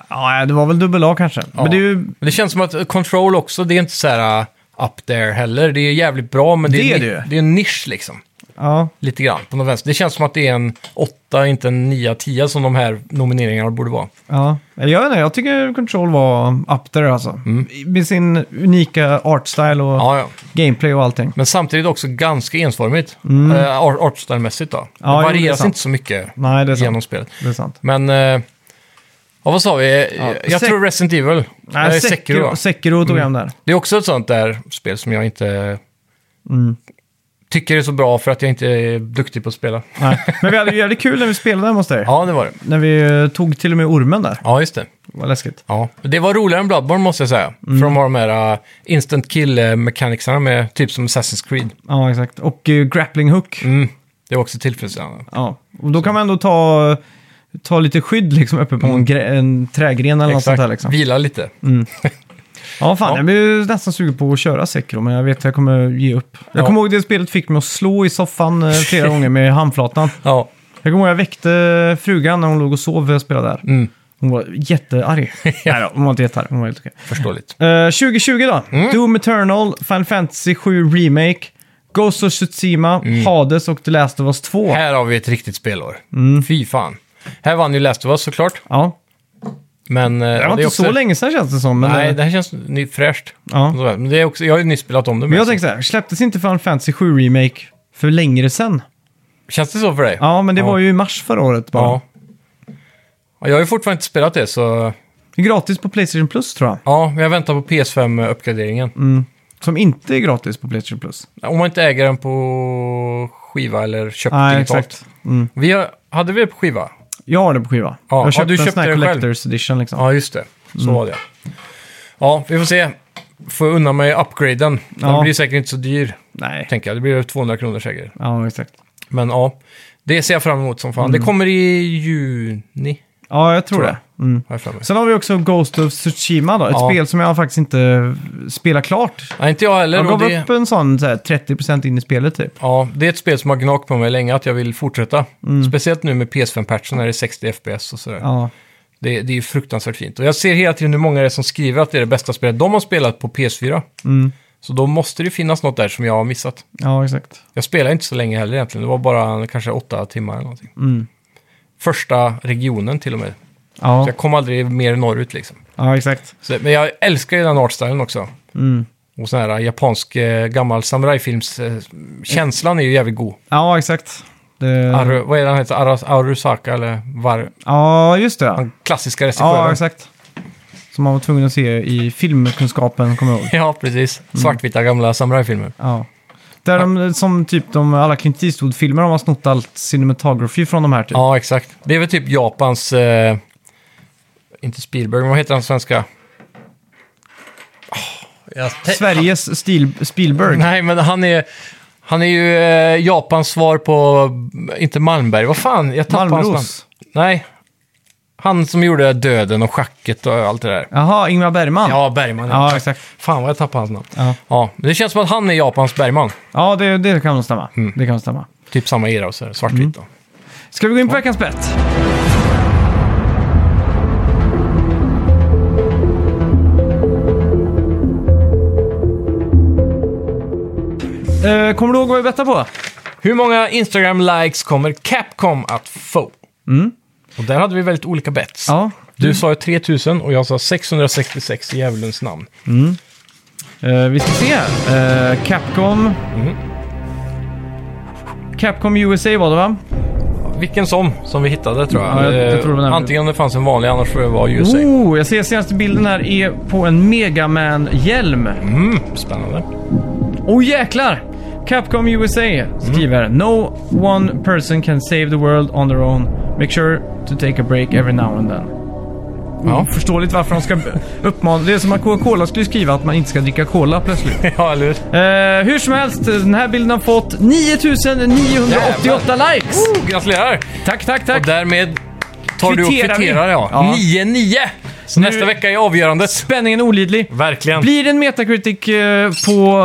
Ja, det var väl dubbel A kanske. Men det är ju... Men det känns som att Control också, det är inte så här uh, up there heller. Det är jävligt bra, men det, Det är är, det ni- ju. det är en nisch liksom. Ja, Lite grann på något vänster. Det känns som att det är en 8, inte en 9, 10 som de här nomineringarna borde vara. ja. Eller Jag, vet inte, jag tycker Control var up there alltså. I- Med sin unika artstyle och Mm. Ja, ja. gameplay och allting. Men samtidigt också ganska ensformigt. Eh, art- Artstyle-mässigt då. Mm. Ja, jo, det är det varieras sant. inte så mycket Nej, det är sant. genom spelet. Det är sant. Men, eh, ja, vad sa vi? Jag Sek- tror Resident Evil. Nej, Eh, Sekiro, Mm. Sekiro, va? Sekiro tog hem där. Det är också ett sånt där spel som jag inte Mm. tycker är så bra för att jag inte är duktig på att spela. Nej. Men vi hade ju jävligt kul när vi spelade hemma hos dig. Ja, det var det. När vi eh, tog till och med ormen där. Ja, just det. Det var läskigt. Ja. Det var roligare än Bloodborne måste jag säga. För Mm. de har de här uh, instant kill-mechanicsarna med typ som Assassin's Creed. Ja, exakt. Och eh, grappling hook. Mm. Det var också tillfredsställande. Ja, och då kan man ändå ta, ta lite skydd liksom uppe på Mm. en, grä, en trägren eller något sånt där liksom. Vila lite. Ja, fan, Ja. jag blir ju nästan sugen på att köra Sekiro, men jag vet att jag kommer ge upp. Jag Ja. kommer ihåg det spelet fick mig att slå i soffan eh, [laughs] flera gånger med handflatan. Ja. Jag kommer ihåg jag väckte eh, frugan när hon låg och sov när jag spelade där. Mm. Hon var [laughs] jättearg. Nej då, hon var inte jättearg, hon var helt okej. Förståeligt. Eh, 2020 då. Mm. Doom Eternal, Final Fantasy 7 Remake, Ghost of Tsushima, Hades och The Last of Us 2. Mm. Här har vi ett riktigt spelår. Mm. Fy fan. Här vann ju Last of Us såklart. Ja, Men, eh, det var är inte också... så länge sedan känns det som. Men Nej, det- det här känns ny, fräscht. Ja. Men det är också, jag har ju nyss spelat om det. Men men jag tänker så här, släpptes inte Final Fantasy 7 Remake för längre sedan? Känns det så för dig? Ja, men det Ja. var ju i mars förra året bara. Ja. Ja, Jag har ju fortfarande inte spelat det, så Det är gratis på Playstation Plus tror jag. ja, jag väntar på PS5-uppgraderingen. Som inte är gratis på Playstation Plus. Om man inte äger den på skiva eller köpt digitalt. Mm. Vi har, hade vi det på skiva? Jag har det på skiva. Ja, jag har ja, köpt du en sån köpte här det själv. Collectors Edition liksom. Ja, just det. Så var det. Ja, vi får se. Får unna mig upgraden. Den Ja. blir säkert inte så dyr, Nej. tänker jag. Det blir över 200 kronor säkert. Ja, exakt. Men ja, det ser jag fram emot som fan. Mm. Det kommer i juni, Ja, jag tror, Tror det. Mm. har jag för mig. Sen har vi också Ghost of Tsushima då. Ett Ja. spel som jag faktiskt inte spelar klart. Nej, inte jag heller. Jag och gav det... upp en sån så här, 30% in i spelet typ. Ja, det är ett spel som har gnagt på mig länge att jag vill fortsätta. Mm. Speciellt nu med PS5-patchen när det är 60 FPS och sådär. Ja. Det, det är ju fruktansvärt fint. Och jag ser hela tiden hur många det är som skriver att det är det bästa spelet de har spelat på PS4. Mm. Så då måste det finnas något där som jag har missat. ja, exakt. Jag spelade inte så länge heller egentligen. Det var bara kanske åtta timmar eller någonting. Mm. Första regionen till och med. Så Ja, jag kom aldrig mer norrut liksom. ja exakt. Så, men jag älskar ju den artstylen också. Mm. Och sån här japansk eh, gammal samurajfilms-känslan är ju jävligt god. Ja, exakt. Det... Aru, vad är det han heter? Aras, Arusaka eller var, Ja, just det. Han klassiska regissören. Ja, exakt. Som man var tvungen att se i filmkunskapen, kommer jag ihåg. [laughs] Ja, precis. Mm. Svartvita gamla samurajfilmer. Ja. Där de, som typ de, alla Clint Eastwood-filmer, de har snott allt cinematography från de här typ. Ja, exakt. Det är väl typ Japans... Eh, inte Spielberg, men vad heter han svenska? Åh, jag te- Sveriges stil, Spielberg. Nej, men han är... Han är ju eh, Japans svar på... Inte Malmberg, vad fan? Jag tappade hans namn. Malmros. Nej. Han som gjorde Döden och Schacket och allt det där. Jaha, Ingmar Bergman. Ja, Bergman. Ja, exakt. Fan vad jag tappade hans namn. Ja, Ja, men det känns som att han är Japans Bergman. ja det, det kan nog stämma. Mm. Det kan nog stämma. Typ samma era och så här, svartvitt då. Ska vi gå in på veckans bett? Eh, Kommer du ihåg vad vi bettade på? Hur många Instagram-likes kommer Capcom att få? Och där hade vi väldigt olika bets. Mm. Ja. Du sa ju 3000 och jag sa 666 i djävulens namn. Eh, vi ska se. Eh, Capcom... Capcom USA var det va? Vilken som, som vi hittade tror jag. Ja, jag- jag Eh, tror det var den. Antingen det fanns en vanlig, annars tror jag det var USA. Oh, jag ser senaste bilden här är på en Mega Man-hjälm. Mm, spännande. [laughs] Oh jäklar! Capcom USA skriver No one person can save the world on their own. Make sure to take a break every now and then. Mm, Ja. Förståeligt varför de ska uppmana... Det är som att Coca-Cola skulle skriva att man inte ska dricka cola [laughs] plötsligt. ja, eller hur? Eh, hur som helst, den här bilden har fått 9988 likes! Oh, gratulerar! Tack, tack, Och tack! därmed tar du och Kvitterar vi. kvitterar, ja. Ja. 9-9! Så Nu- nästa vecka är avgörandet. Spänningen är olidlig. Verkligen. Blir det en Metacritic eh, på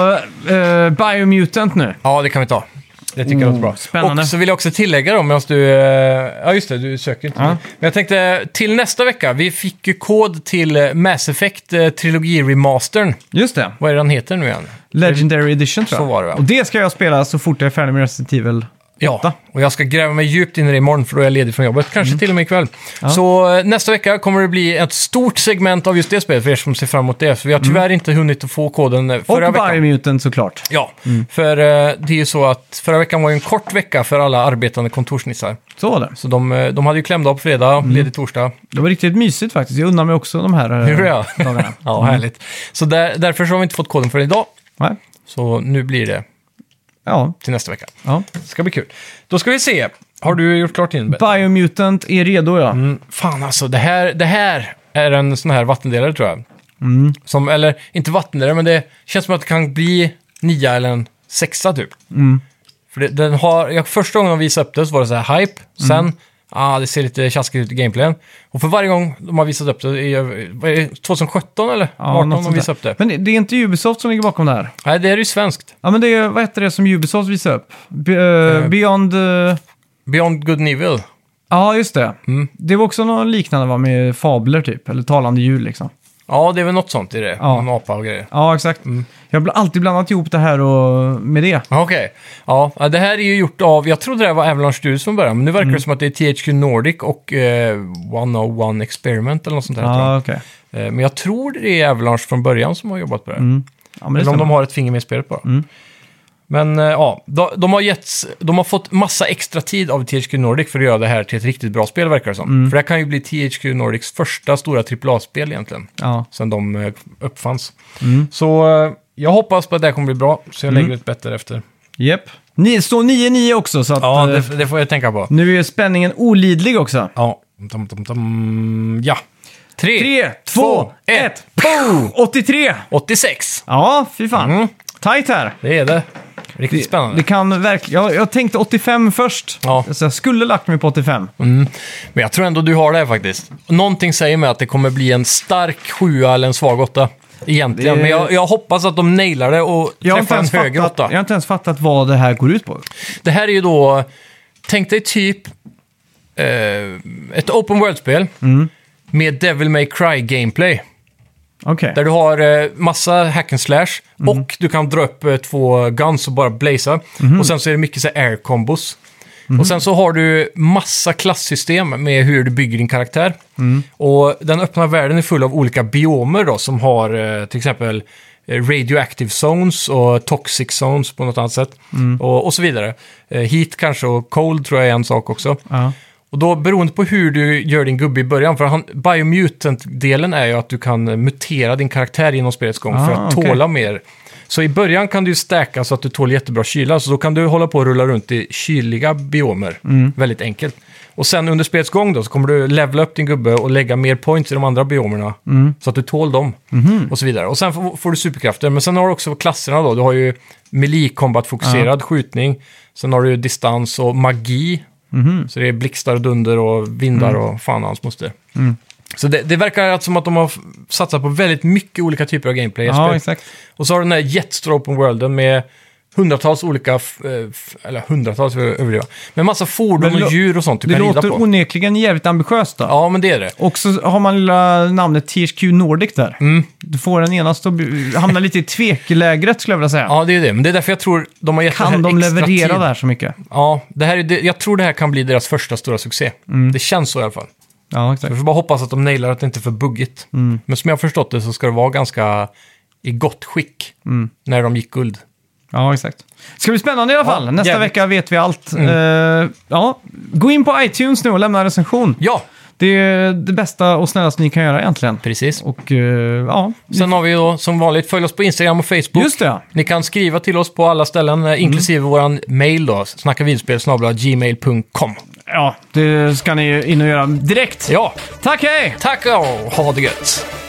eh, Biomutant nu? Ja, det kan vi ta. Det tycker jag låter bra. Mm. spännande. Och så vill jag också tillägga då, medan du... eh, Ja, just det, du söker inte. Ja. Men jag tänkte, till nästa vecka, vi fick ju kod till eh, Mass Effect eh, Trilogi-remastern. Just det. Vad är det den heter nu igen? Legendary Edition tror jag. Så var det, va? Och det ska jag spela så fort jag är färdig med Resident Evil. Åtta. Mm. Ja, och jag ska gräva mig djupt in i det imorgon för då är jag ledig från jobbet. Kanske till och med ikväll. Så eh, nästa vecka kommer det bli ett stort segment av just det spelet för er som ser fram emot det. För vi har tyvärr inte hunnit att få koden eh, Mm. Och Mm. förra veckan. Biomutant såklart. Ja, för eh, det är ju så att förra veckan var ju en kort vecka för alla arbetande kontorsnissar. Så var det. Så de, eh, de hade ju klämda på fredag, ledig torsdag. Det var riktigt mysigt faktiskt. Jag unnar mig också de här eh, Hur är jag? [laughs] dagarna. ja, härligt. Så där, därför så har vi inte fått koden för idag. Nej. Så nu blir det Ja, till nästa vecka. ja. Det ska bli kul. Då ska vi se. Har du gjort klart din bet? Biomutant är redo ja. Mm, fan alltså, det här, det här är en sån här vattendelare tror jag. Mm. Som, eller inte vattendelare, men det känns som att det kan bli nia eller en sexa typ. Mm. För det, den har, jag, första gången de visade upp det så var det så här hype, Mm. sen Ah, det ser lite tjaskigt ut i gameplayen. Och för varje gång de har visat upp det, i, vad är det, 2017 eller? Ja, 18 något de sånt där. visade upp det. Men det är inte Ubisoft som ligger bakom det här? Nej, det är ju svenskt. Ja, men det är, vad heter det som Ubisoft visar upp? Be- eh, Beyond... eh, Beyond Good and Evil. Ja, just det. Mm. Det var också något liknande va, med fabler typ, eller talande djur liksom. Ja, det är väl något sånt i det. Ja. Någon apa och grejer. Ja, exakt. Mm. Jag har bl- alltid blandat ihop det här och med det. Ja, Okej. Ja, Ja, det här är ju gjort av, jag trodde det här var Avalanche Studios från början, men nu verkar Mm. det som att det är THQ Nordic och eh, 101 Experiment eller något sånt där. tror jag. Ja, okej. Eh, men jag tror det är Avalanche från början som har jobbat på det Ja, här. men det Eller om stämmer. Mm. de har ett finger med i spelet bara. Men eh, ja, de, de, har getts, de har fått massa extra tid av THQ Nordic för att göra det här till ett riktigt bra spel verkar det som. Mm. För det här kan ju bli THQ Nordics första stora AAA-spel egentligen Ja. sen de eh, uppfanns. Mm. Så eh, jag hoppas på att det här kommer bli bra, så jag lägger ett bett därefter. Jep. Ni, står 9-9 också, så att Ja, eh, det, det får jag tänka på. nu är spänningen olidlig också. Ja. Tom, tom, tom. ja. 3, 3, 2, 1, 83! 86. Ja, fy fan. Mm. Tajt här. Det är det. Riktigt spännande. Det kan verkligen... Jag, jag tänkte 85 först. Ja. Så jag skulle lagt mig på 85. Mm. Men jag tror ändå du har det här faktiskt. Någonting säger mig att det kommer bli en stark sjua eller en svag åtta. Egentligen. Det- Men jag, jag hoppas att de nailar det och Jag har, inte träffar en ens höger fattat, jag åtta. har inte ens fattat vad det här går ut på. Det här är ju då, tänk dig typ eh, ett open world-spel med Devil May Cry-gameplay. Okej. Där du har eh, massa hack and slash och du kan dra upp eh, två guns och bara blaza. Och sen så är det mycket så här air combos. Och sen så har du massa klasssystem med hur du bygger din karaktär. Och den öppna världen är full av olika biomer då som har eh, till exempel eh, radioactive zones och toxic zones på något annat sätt. Och, och så vidare. Eh, heat kanske och cold tror jag är en sak också. Ja. Och då beroende på hur du gör din gubbe i början, för han, Biomutant-delen är ju att du kan eh, mutera din karaktär genom spelets gång för Ah, att okej. tåla mer. Så i början kan du ju stärka så att du tål jättebra kyla, så då kan du hålla på och rulla runt i kyliga biomer Mm. väldigt enkelt. Och sen under spelets gång då, så kommer du levla upp din gubbe och lägga mer points i de andra biomerna, Mm. så att du tål dem. Mhm. Och så vidare. Och sen får, får du superkrafter, men sen har du också klasserna då. Du har ju melee combat fokuserad skjutning, sen har du ju distans och magi Mhm. Så det är blixtar och dunder och vindar Mm. och fan och hans moster. Så det, det verkar alltså som att de har f- satsat på väldigt mycket olika typer av gameplay. i Ja, spel. exakt. Och så har du den här jättestora open worlden med hundratals olika, f- eh, f- eller hundratals, jag överdriva, men massa Men fordon det lå- och djur och sånt du Det kan rida låter på. onekligen jävligt ambitiöst då. Ja, men det är det. Och så har man lilla namnet THQ Nordic där. Mm. Du får den ena stå, hamna lite i tvekelägret skulle jag vilja säga. Ja, det är det. Men det är därför jag tror de har gett det här kan de extra leverera tid. där så mycket? Ja, det här är, det, jag tror det här kan bli deras första stora succé. Mm. Det känns så i alla fall. Ja, Vi exakt. får bara hoppas att de nailar att det inte är för buggigt. Mm. Men som jag har förstått det så ska det vara ganska i gott skick Mm. när de gick guld. Ja, exakt. Det ska bli spännande i alla Ja, fall. Nästa jävligt. vecka Mm. vet vi allt. Eh, ja. Gå in på iTunes nu och lämna en recension. Ja, Det är det bästa och snällaste ni kan göra egentligen. precis. Och eh, ja, Sen har vi då som vanligt, följ oss på Instagram och Facebook. just det. Mm. ja. Ni kan skriva till oss på alla ställen, eh, inklusive våran mail då, snackavidspel.gmail.com. Ja, det ska ni in och göra direkt. Ja, Tack, hej! tack och ha det gött!